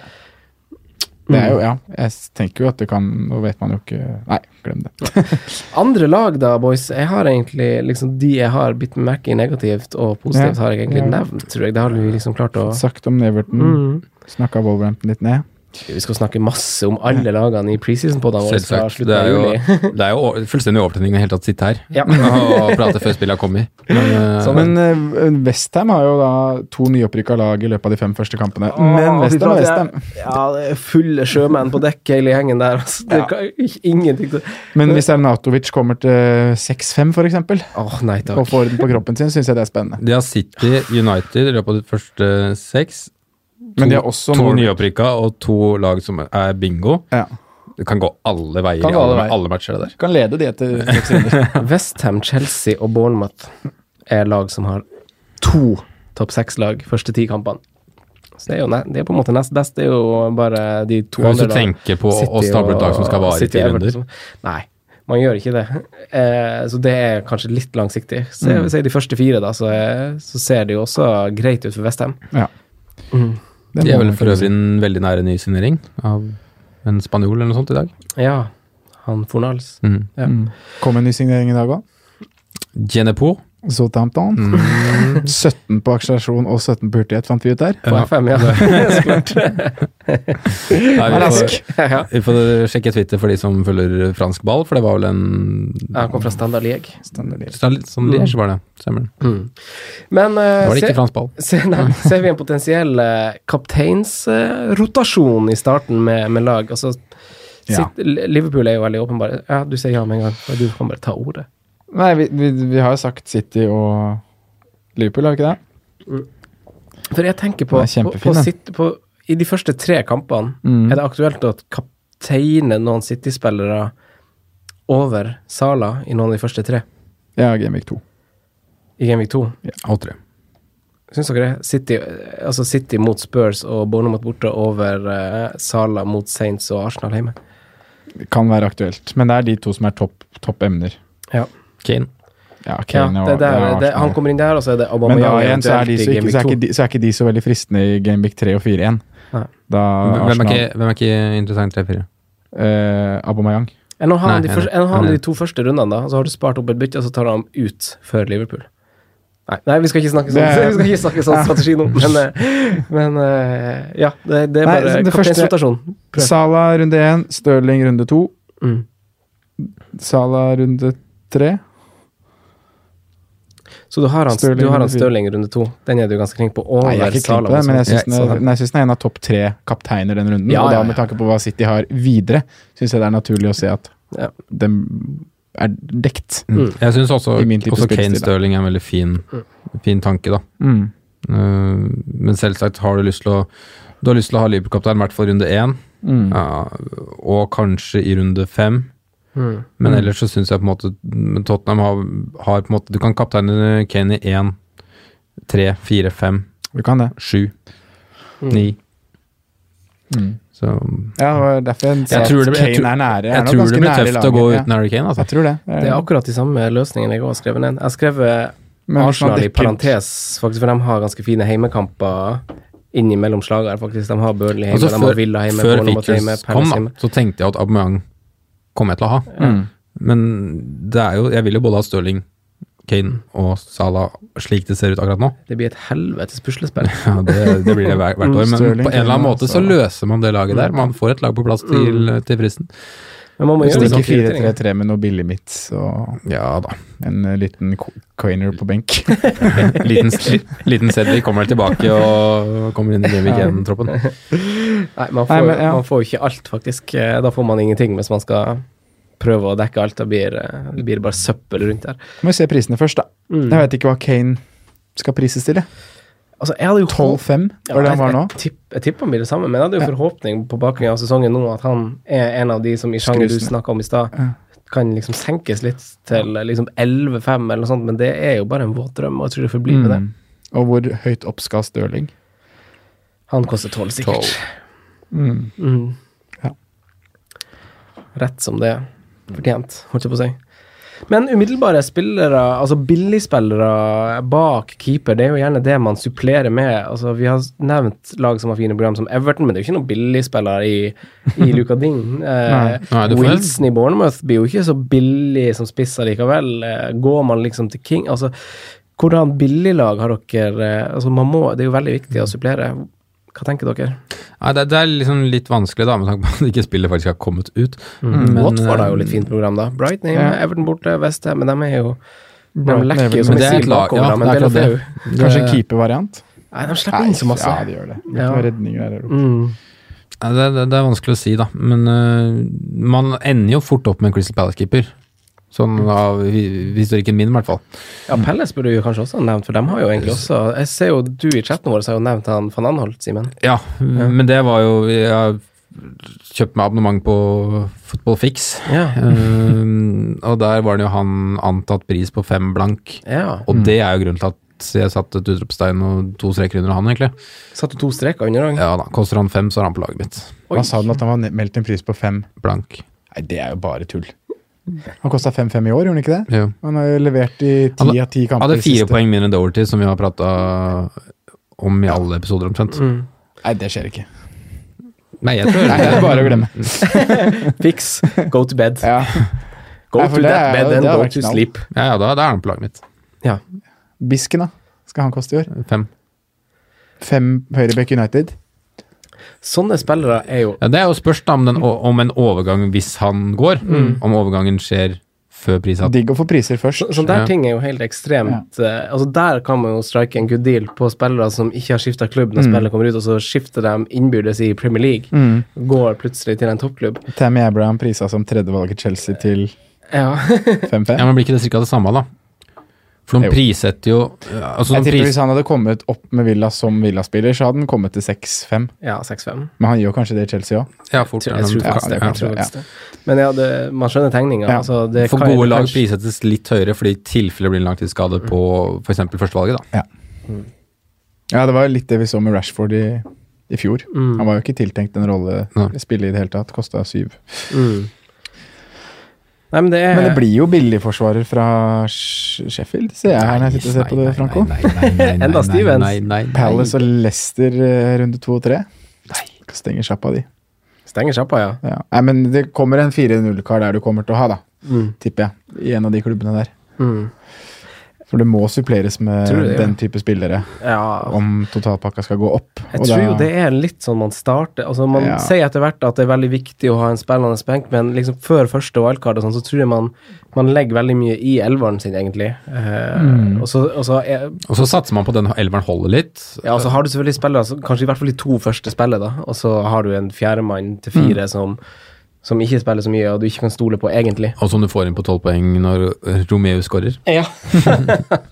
Det Mm. er jo, ja. Jeg tenker jo at det kan Nå vet man jo ikke Nei, glem det. Andre lag da, boys. Jeg har egentlig liksom de jeg har bitt meg merke i negativt og positivt, Ja. har jeg egentlig Ja. nevnt, tror jeg. Det har vi liksom klart å Sagt om Neverton. Mm. Snakka Wolverhampton litt ned. Vi skal snakke masse om alle lagene i preseason på den vår fra Selvsagt. slutten Det er av jo, juli. det er jo o- fullstendig overtenning å i det hele tatt sitte her Ja. og prate før spillet har kommet. Men, eh, Men eh, Westham har jo da to nyopprykka lag i løpet av de fem første kampene. Men Westham er Westham. Ja, det er fulle sjømenn på dekk hele gjengen der. Altså. Det Ja. kan ikke- ingenting til Men hvis Arnautovic kommer til 6-5 f.eks., Åh, nei takk. og får orden på kroppen sin, syns jeg det er spennende. de har City, United i løpet av de første seks. Men de har også To Norwich. nyopprykka og to lag som er bingo. Ja. Det kan gå alle veier Kan i gå alle alle, veier. alle matcher, det der. Kan lede de etter seks runder. Westham, Chelsea og Bournemouth er lag som har to topp seks-lag første ti kampene. Så det er jo ne det er på en måte nest best. Det er jo bare de to Hvis andre du tenker på å- å stable et lag som skal vare i ti runder. Nei, man gjør ikke det. Eh, så det er kanskje litt langsiktig. Så Mm. jeg vil si de første fire, da, så, er- så ser det jo også greit ut for Westham. Ja. Det De er må vel man for kunne øvrig si. en veldig nære ny signering av en spanjol eller noe sånt i dag. Ja, han Fornals. Mm. Kom en ny signering i dag òg. Genepo. Southampton. 17 på akselerasjon og 17 på hurtighet, fant vi ut der. På FM, ja. Så klart. Nei, vi, får, Rask. ja. vi får sjekke Twitter for de som følger fransk ball, for det var vel en Han kom fra Standard League. Sånn sånn Liège var det. Stemmer. det. Men eh, Da var det se- ikke fransk ball. se- Mm. nei, ser vi en potensiell eh, kapteinsrotasjon i starten med, med lag? Altså, Ja. sitt, Liverpool er jo veldig åpenbare. Ja, du sier ja med en gang. og Du kan bare ta ordet. Nei, vi, vi, vi har jo sagt City og Liverpool, har vi ikke det? For jeg tenker på, Den er på, kjempefin, på, den. sitt, på I de første tre kampene, Mm. er det aktuelt å kapteine noen City-spillere over Sala i noen av de første tre Ja, Gamevik 2. i Genvik 2? Alle tre. Syns dere det? City, altså City mot Spurs og Bournemouth borte over eh, Sala mot Saints og Arsenal hjemme. Det Kan være aktuelt. Men det er de to som er topp topp emner. Kane. Ja, Ja, Kane og- det er der, ja, det, Arsenal. han kommer inn der, og så er det Men Aubameyang da igjen så er, de eventuelt så, i ikke, Gameweek så, er 2. ikke de, så er ikke de så veldig fristende i Gameweek 3 og 4 igjen. Nei. Da Hvem er Arsenal ikke, hvem er ikke interessant 3-4? eh, Aubameyang. Enn å ha Nei, de, jeg er første, enig. enn å ha Jeg er de to første rundene, da. og Så har du spart opp et bytte, og så tar du ham ut før Liverpool. Nei, nei vi skal ikke snakke sånn, Det- vi skal ikke snakke sånn Ja. strategi nå, men, eh, men eh, ja. Det, det er Nei, bare det første- kapteinsrotasjon. Prøv. Salah runde én, Stirling runde to. Mm. Salah runde tre. Så du har han, Stirling du har han runde fire. Stirling runde to. Den er du ganske klink på. Over Nei, jeg er ikke klar på Salah, altså. sånn. det, men jeg syns også. den, er- nei, jeg synes den er en av topp tre kapteiner den runden. Ja, og ja, da ja. med tanke på hva City har videre, syns jeg det er naturlig å se at Ja. den er dekt. Mm. Jeg syns også, I min type også Kane spillstil, da. Stirling er en veldig fin, fin tanke, da. Mm. Eh, men selvsagt har du lyst til å Du har lyst til å ha Liverpool-kaptein i hvert fall runde én, Mm. ja, og kanskje i runde fem. Mm. Men Mm. ellers så syns jeg på en måte men Tottenham har, har på en måte Du kan kapteine Kane i én, tre, fire, fem, Du kan det. sju, Mm. ni. Mm. Så Ja, det var derfor jeg, sa at tror det blir- jeg Kane tror- er nære. jeg tror det blir tøft å gå uten uten Harry Kane, altså. Jeg tror det. Eh, Det er akkurat de samme løsningene jeg også har skrevet ned. Jeg har skrevet men hvis man Arsenal i dekker- parentes, faktisk, for de har ganske fine heimekamper innimellom slag her, faktisk. De har Burnley hjemme, Altså, de har før, Villa hjemme, før Bournemouth hjemme, Features kom, Palace da, hjemme. så tenkte jeg at Aubameyang kom jeg til å ha. Mm. Men det er jo Jeg vil jo både ha Stirling, Kane og Salah slik det ser ut akkurat nå. Det blir et helvetes puslespill. Ja, det, det blir det hver, hvert år, men Sterling, på en eller annen Kane, måte så Salah. løser man det laget der. Man får et lag på plass til, til fristen. Men man må Hvis gjøre det sånn ikke prioritering. 4-3-3 med noe billig mitt og Ja da. en eh, liten qu- Quainer på benk. Liten, liten Sedley kommer tilbake og kommer inn i Gamvik Ja. troppen Nei, man Nei, får, men, ja. man får jo ikke alt, faktisk. Eh, Da får man ingenting hvis man skal prøve å dekke alt. Da blir eh, det blir bare søppel rundt der. Må jo se prisene først, da. Mm. Jeg vet ikke hva Kane skal prises til. jeg. Altså, jeg hadde jo 12-5 Ja, var det jeg- han var nå. Jeg, tipp, jeg tipper han blir det samme, men jeg hadde jo forhåpning på bakgrunn av sesongen nå at han er en av de som i sjanger du Skrusene. snakka om i stad, kan liksom senkes litt til eh, liksom 11-5 eller noe sånt, men det er jo bare en våt drøm, og jeg tror det får bli med det. Mm. Og hvor høyt opp skal Stirling? Han koster 12, sikkert. Mm. Ja. Rett som det er. Mm. Fortjent, holdt jeg på å si. Men umiddelbare spillere, altså billigspillere bak keeper, det er jo gjerne det man supplerer med. Altså, vi har nevnt lag som har fine program som Everton, men det er jo ikke noen billigspillere i, i Luca Ding. Eh, Nei, du får- Wilson i Bournemouth blir jo ikke så billig som spiss likevel. Eh, går man liksom til King Altså, hvordan billiglag har dere eh, Altså, man må Det er jo veldig viktig å supplere. Hva tenker dere? Nei, det, det er liksom litt vanskelig, da, med tanke på at ikke spillet faktisk har kommet ut. Mm. Men, Watford har jo eh, litt fint program, da. Brighton er hjemme, Everton borte, Westham, men de er jo De Brighton, lekker Everton. jo sånn- som en Men det er et sil lag, bakover, ja, da, men det er akkurat Bellefeu Kanskje en Det- keepervariant? Nei, de slipper inn så masse. Ja, de gjør det. Det Ja. er redninger der oppe. Mm. Nei, Det, det, det er vanskelig å si, da. Men øh, man ender jo fort opp med en Crystal Palace-keeper. Sånn av hi- historikken min, i hvert fall. Ja, Pelles burde jo kanskje også ha nevnt, for de har jo egentlig også Jeg ser jo du i chatten vår har jo nevnt han van Anholt, Simen. Ja, men det var jo Jeg har kjøpt meg abonnement på Football Fix, Ja. Ehm, og der var det jo han antatt pris på fem blank. ja. Og det er jo grunnen til at jeg satte et utropstegn og to streker under han, egentlig. Satt jo to streker under òg. Ja da, Koster han fem, så er han på laget mitt. Hva sa den at han var ne- meldt en pris på fem? Blank. Nei, det er jo bare tull. Han kosta 5-5 i år, gjorde han ikke det? Ja. Han har jo levert i Han ti av ti kamper. Hadde fire siste. poeng mindre enn Doverty, som vi har prata om i alle episoder, omtrent. Nei, det skjer ikke. Nei, jeg tror Nei, det er bare å glemme. Fiks. Go to bed. Ja. Go Nei, for to det that er- bed det and har go vært to knall. sleep. Ja, ja, da, da er han på laget mitt. Ja. Bisken, da? Skal han koste i år? Fem. Fem Høyrebekk United? Sånne spillere er jo Ja, det er jo spørs da om, den, o- om en overgang, hvis han går, om overgangen skjer før prissatt. Digg å få priser først. Så, sånn der Ja. ting er jo helt ekstremt eh, Altså Der kan man jo strike en good deal på spillere som ikke har skifta klubb Mm. når spillet kommer ut, og så skifter de innbyrdes i Premier Legue. Går plutselig til en toppklubb. Tammy Abraham prisa som tredjevalget Chelsea til Ja. 5-5. Ja, men blir ikke det cirka det samme, da? For de Jo. prissetter jo altså, Jeg de tipper pris, Hvis han hadde kommet opp med Villa som Villa-spiller, så hadde han kommet til 6-5. ja 6-5. Men han gir jo kanskje det i Chelsea òg. ja, fort, Jeg tror ja, faktisk det. ja. Jeg tror faktisk det. Men ja, det, man skjønner tegninga. Ja. Altså, det For kan- gode lag kanskje- prissettes litt høyere fordi i tilfelle det blir en langtidsskade på f.eks. førstevalget. da. Ja, det var litt det vi så med Rashford i, i fjor. Han var jo ikke tiltenkt en rolle Nei. spille i det hele tatt. Kosta syv. Mm. Nei, men det er Men det blir jo billigforsvarer fra Sh- Sheffield, ser jeg her når jeg sitter og ser på det, Franco. Nei, nei, nei, nei, nei, Enda nei, Stevens. Nei, nei, nei. Palace og Leicester eh, runde to og tre. Stenger sjappa, de. Stenger sjappa, ja. Ja. Nei, men det kommer en 4-0-kar der du kommer til å ha, da. Mm. Tipper jeg. I en av de klubbene der. For det må suppleres med Tror du det, ja. den type spillere om totalpakka skal gå opp. Jeg Og tror da- jo det er litt sånn man starter Altså Man Ja. sier etter hvert at det er veldig viktig å ha en spillende benk, men liksom før første wildcard og sånn, så tror jeg man, man legger veldig mye i elveren sin, egentlig. Eh, Mm. Og så, og så er, Og så satser man på den elveren holder litt. ja, og så har du selvfølgelig spillere, som- kanskje i hvert fall de to første spillet, da, og så har du en fjerdemann til fire som, som ikke spiller så mye, og du ikke kan stole på, egentlig. Og som du får inn på tolv poeng når Romeo skårer. Ja.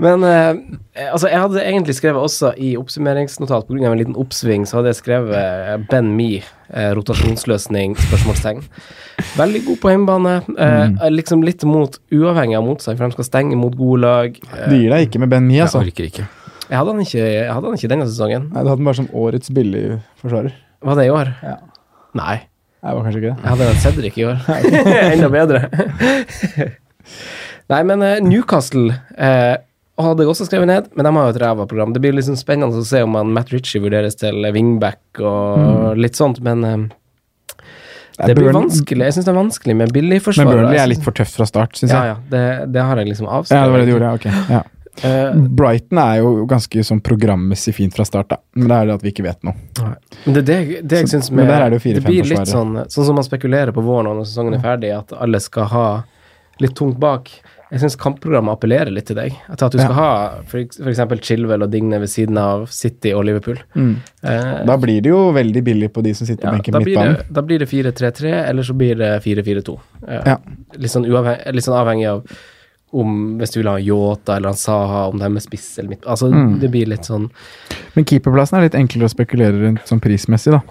Men eh, altså, jeg hadde egentlig skrevet også i oppsummeringsnotat på grunn av en liten oppsving, så hadde jeg skrevet eh, Ben Me, eh, rotasjonsløsning, spørsmålstegn. Veldig god på hjemmebane. eh, er liksom litt mot uavhengig av motstand, for de skal stenge mot gode lag. Eh, Det gir deg ikke med Ben Mi, altså. Jeg orker ikke. jeg, hadde han ikke, jeg hadde han ikke denne sesongen. Nei, Du hadde den bare som årets billige forsvarer. Var det i år? Ja. Nei. Nei, det var kanskje ikke det. Jeg hadde hatt Cedric i år. Enda bedre. Nei, men eh, Newcastle eh, hadde jeg også skrevet ned, men de har jo et ræva program. Det blir liksom spennende å se om han Matt Ritchie vurderes til wingback og litt sånt, men eh, det blir Burn- vanskelig. Jeg syns det er vanskelig med billig Men forsvarer. altså. Burnley er litt for tøft fra start, syns ja, jeg. ja, det, det har jeg liksom avskrevet. Ja, det var det du gjorde, ja, ok. Ja. Eh, Brighton er jo ganske sånn programmessig fint fra start, da. Men det er det at vi ikke vet noe. Men det, er det, det jeg Så- synes men der er det jo fire, fem blir litt sånn, forsvarere. sånn som man spekulerer på våren når sesongen er ferdig, at alle skal ha litt tungt bak. Jeg syns kampprogrammet appellerer litt til deg. At at du skal ha f.eks. Chilwell og Digne ved siden av City og Liverpool. Eh, Da blir det jo veldig billig på de som sitter ja, på benken da, på blir det, midtbanen. da blir det 4-3-3, eller så blir det 4-4-2. Eh, Ja. litt, sånn uavheng, litt sånn avhengig av om hvis du vil ha Yota eller han Saha, om de er med spiss eller midt Altså, Mm. det blir litt sånn Men keeperplassen er litt enklere å spekulere rundt sånn prismessig, da.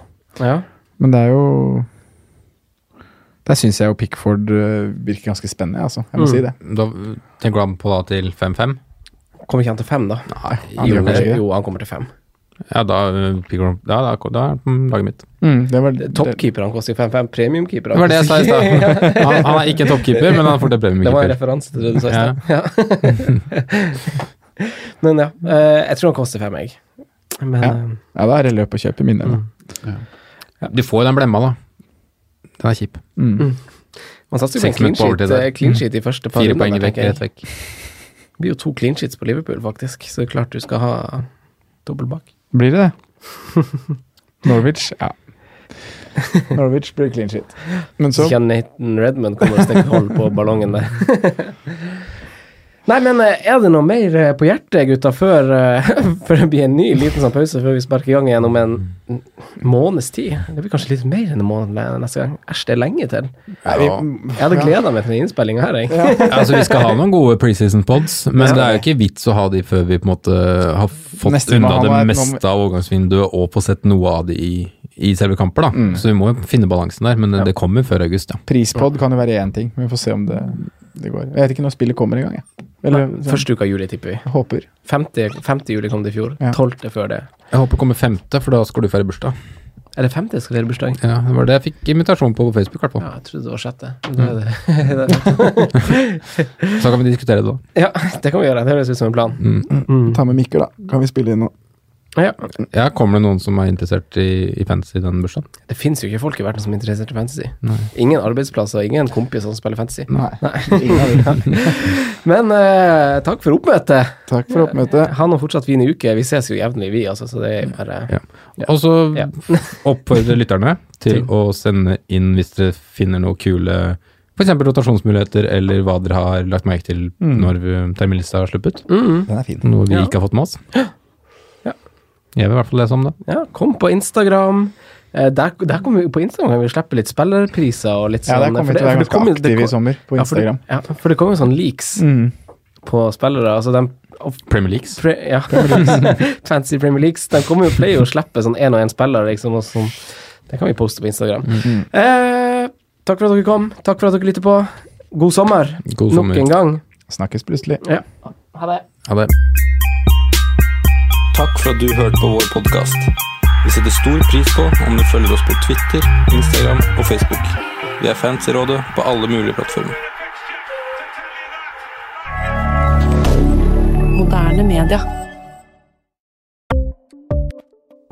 Ja. Men det er jo Der syns jeg jo Pickford øh, virker ganske spennende, altså. Jeg må Mm. si det. Da tenker du ham på da til 5-5? Kommer ikke han til fem, da? Nei. Han gjør kanskje ikke det. jo, han kommer til fem. Ja, da eh, picker han- ja, da, da er han på laget mitt. Mm, det var, det, Toppkeeperne koster 5-5, premiumkeeperne Det var det jeg sa i stad. Han, han er ikke en toppkeeper, men han får det Det var en premiumkeeper. referanse til det du sa i stad. Ja. Men ja, eh, jeg tror han koster 5, jeg. Men Ja. eh, ja, da er det løp og kjøp i minnet, da. Du får jo den blemma, da. Den er kjip. Mm. man satser jo på en Seks clean minutter på sheet, overtid der. Mm. eh, clean sheet i første par Fire runder, poeng da, vekk, tenker jeg. rett vekk. Det blir jo to clean sheets på Liverpool, faktisk, så det er klart du skal ha dobbel bak. Blir det det? Norwich, ja. Norwich blir clean shit. Men så Så ikke Nathan Redmond kommer og stikker hold på ballongen der. Nei, men eh, er det noe mer eh, på hjertet, gutta, før, eh, før det blir en ny liten sånn pause, før vi sparker i gang igjen om en måneds tid? Det blir kanskje litt mer enn en måned le- neste gang. Æsj, det er lenge til. Nei, vi, Jeg hadde gleda meg til den innspillinga her, jeg. Altså, vi skal ha noen gode preseason pods, men det er jo ikke vits å ha de før vi på en måte har fått Neste må unna ha det noe- meste av overgangsvinduet og på sett noe av det i, i selve kamper, da. Så vi må jo finne balansen der, men det kommer før august, ja. Prispod kan jo være én ting, men vi får se om det, det går. Jeg vet ikke når spillet kommer engang, jeg. Eller sånn, Første uka av juli, tipper vi. håper. 50, 50. juli kom det i fjor. Ja. 12. før det. Jeg håper det kommer femte, for da skal du feire bursdag. Eller 50 skal dere bursdag? Ja, det var det jeg fikk invitasjon på på Facebook, i hvert fall. Ja, jeg trodde det var sjette. men Det er det. Så kan vi diskutere det da. Ja, det kan vi gjøre. Det høres ut som en plan. Ta med Mikkel, da. Kan vi spille inn nå? Ja. Ja, kommer det noen som er interessert i, i fantasy den bursdagen? Det fins jo ikke folk i verden som er interessert i fantasy. Ingen arbeidsplasser, ingen kompiser som spiller fantasy. Nei. Men eh, takk for oppmøtet. Takk for oppmøtet. Ha nå fortsatt fin uke. Vi ses jo jevnlig, vi, altså, så det er bare Ja. Og så Ja. oppfordre lytterne til å sende inn hvis dere finner noe kule F.eks. rotasjonsmuligheter, eller hva dere har lagt merke til når eh, terminlista har sluppet. Den er fin. Noe vi Mm. Ja. ikke har fått med oss. Ja. Jeg vil i hvert fall lese om det. Ja, kom på Instagram. Eh, Der, der kommer vi, på Instagram kan vi slippe litt spillerpriser og litt Ja, sånn der kommer vi for til å det- være for det kommer- ganske det aktive i kom- sommer, på Instagram. Ja, for det, ja, for det kommer jo sånn leaks Mm. på spillere. Altså, de Premier Leagues. pre, ja. Fancy Premier Leagues. De kommer jo pleier jo å slippe sånn én og én spiller, liksom. Og sånn. Det kan vi poste på Instagram. Mm-hmm. Eh, takk for at dere kom. Takk for at dere lytter på. God sommer, God sommer. nok en gang. Snakkes plutselig. Ja. Ha det. Ha det. Takk for at du hørte på vår podkast. Vi setter stor pris på om du følger oss på Twitter, Instagram og Facebook. Vi er fans i rådet på alle mulige plattformer. Moderne media.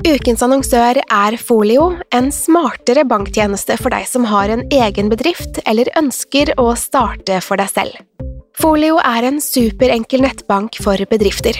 Ukens annonsør er Folio, en smartere banktjeneste for deg som har en egen bedrift eller ønsker å starte for deg selv. Folio er en superenkel nettbank for bedrifter.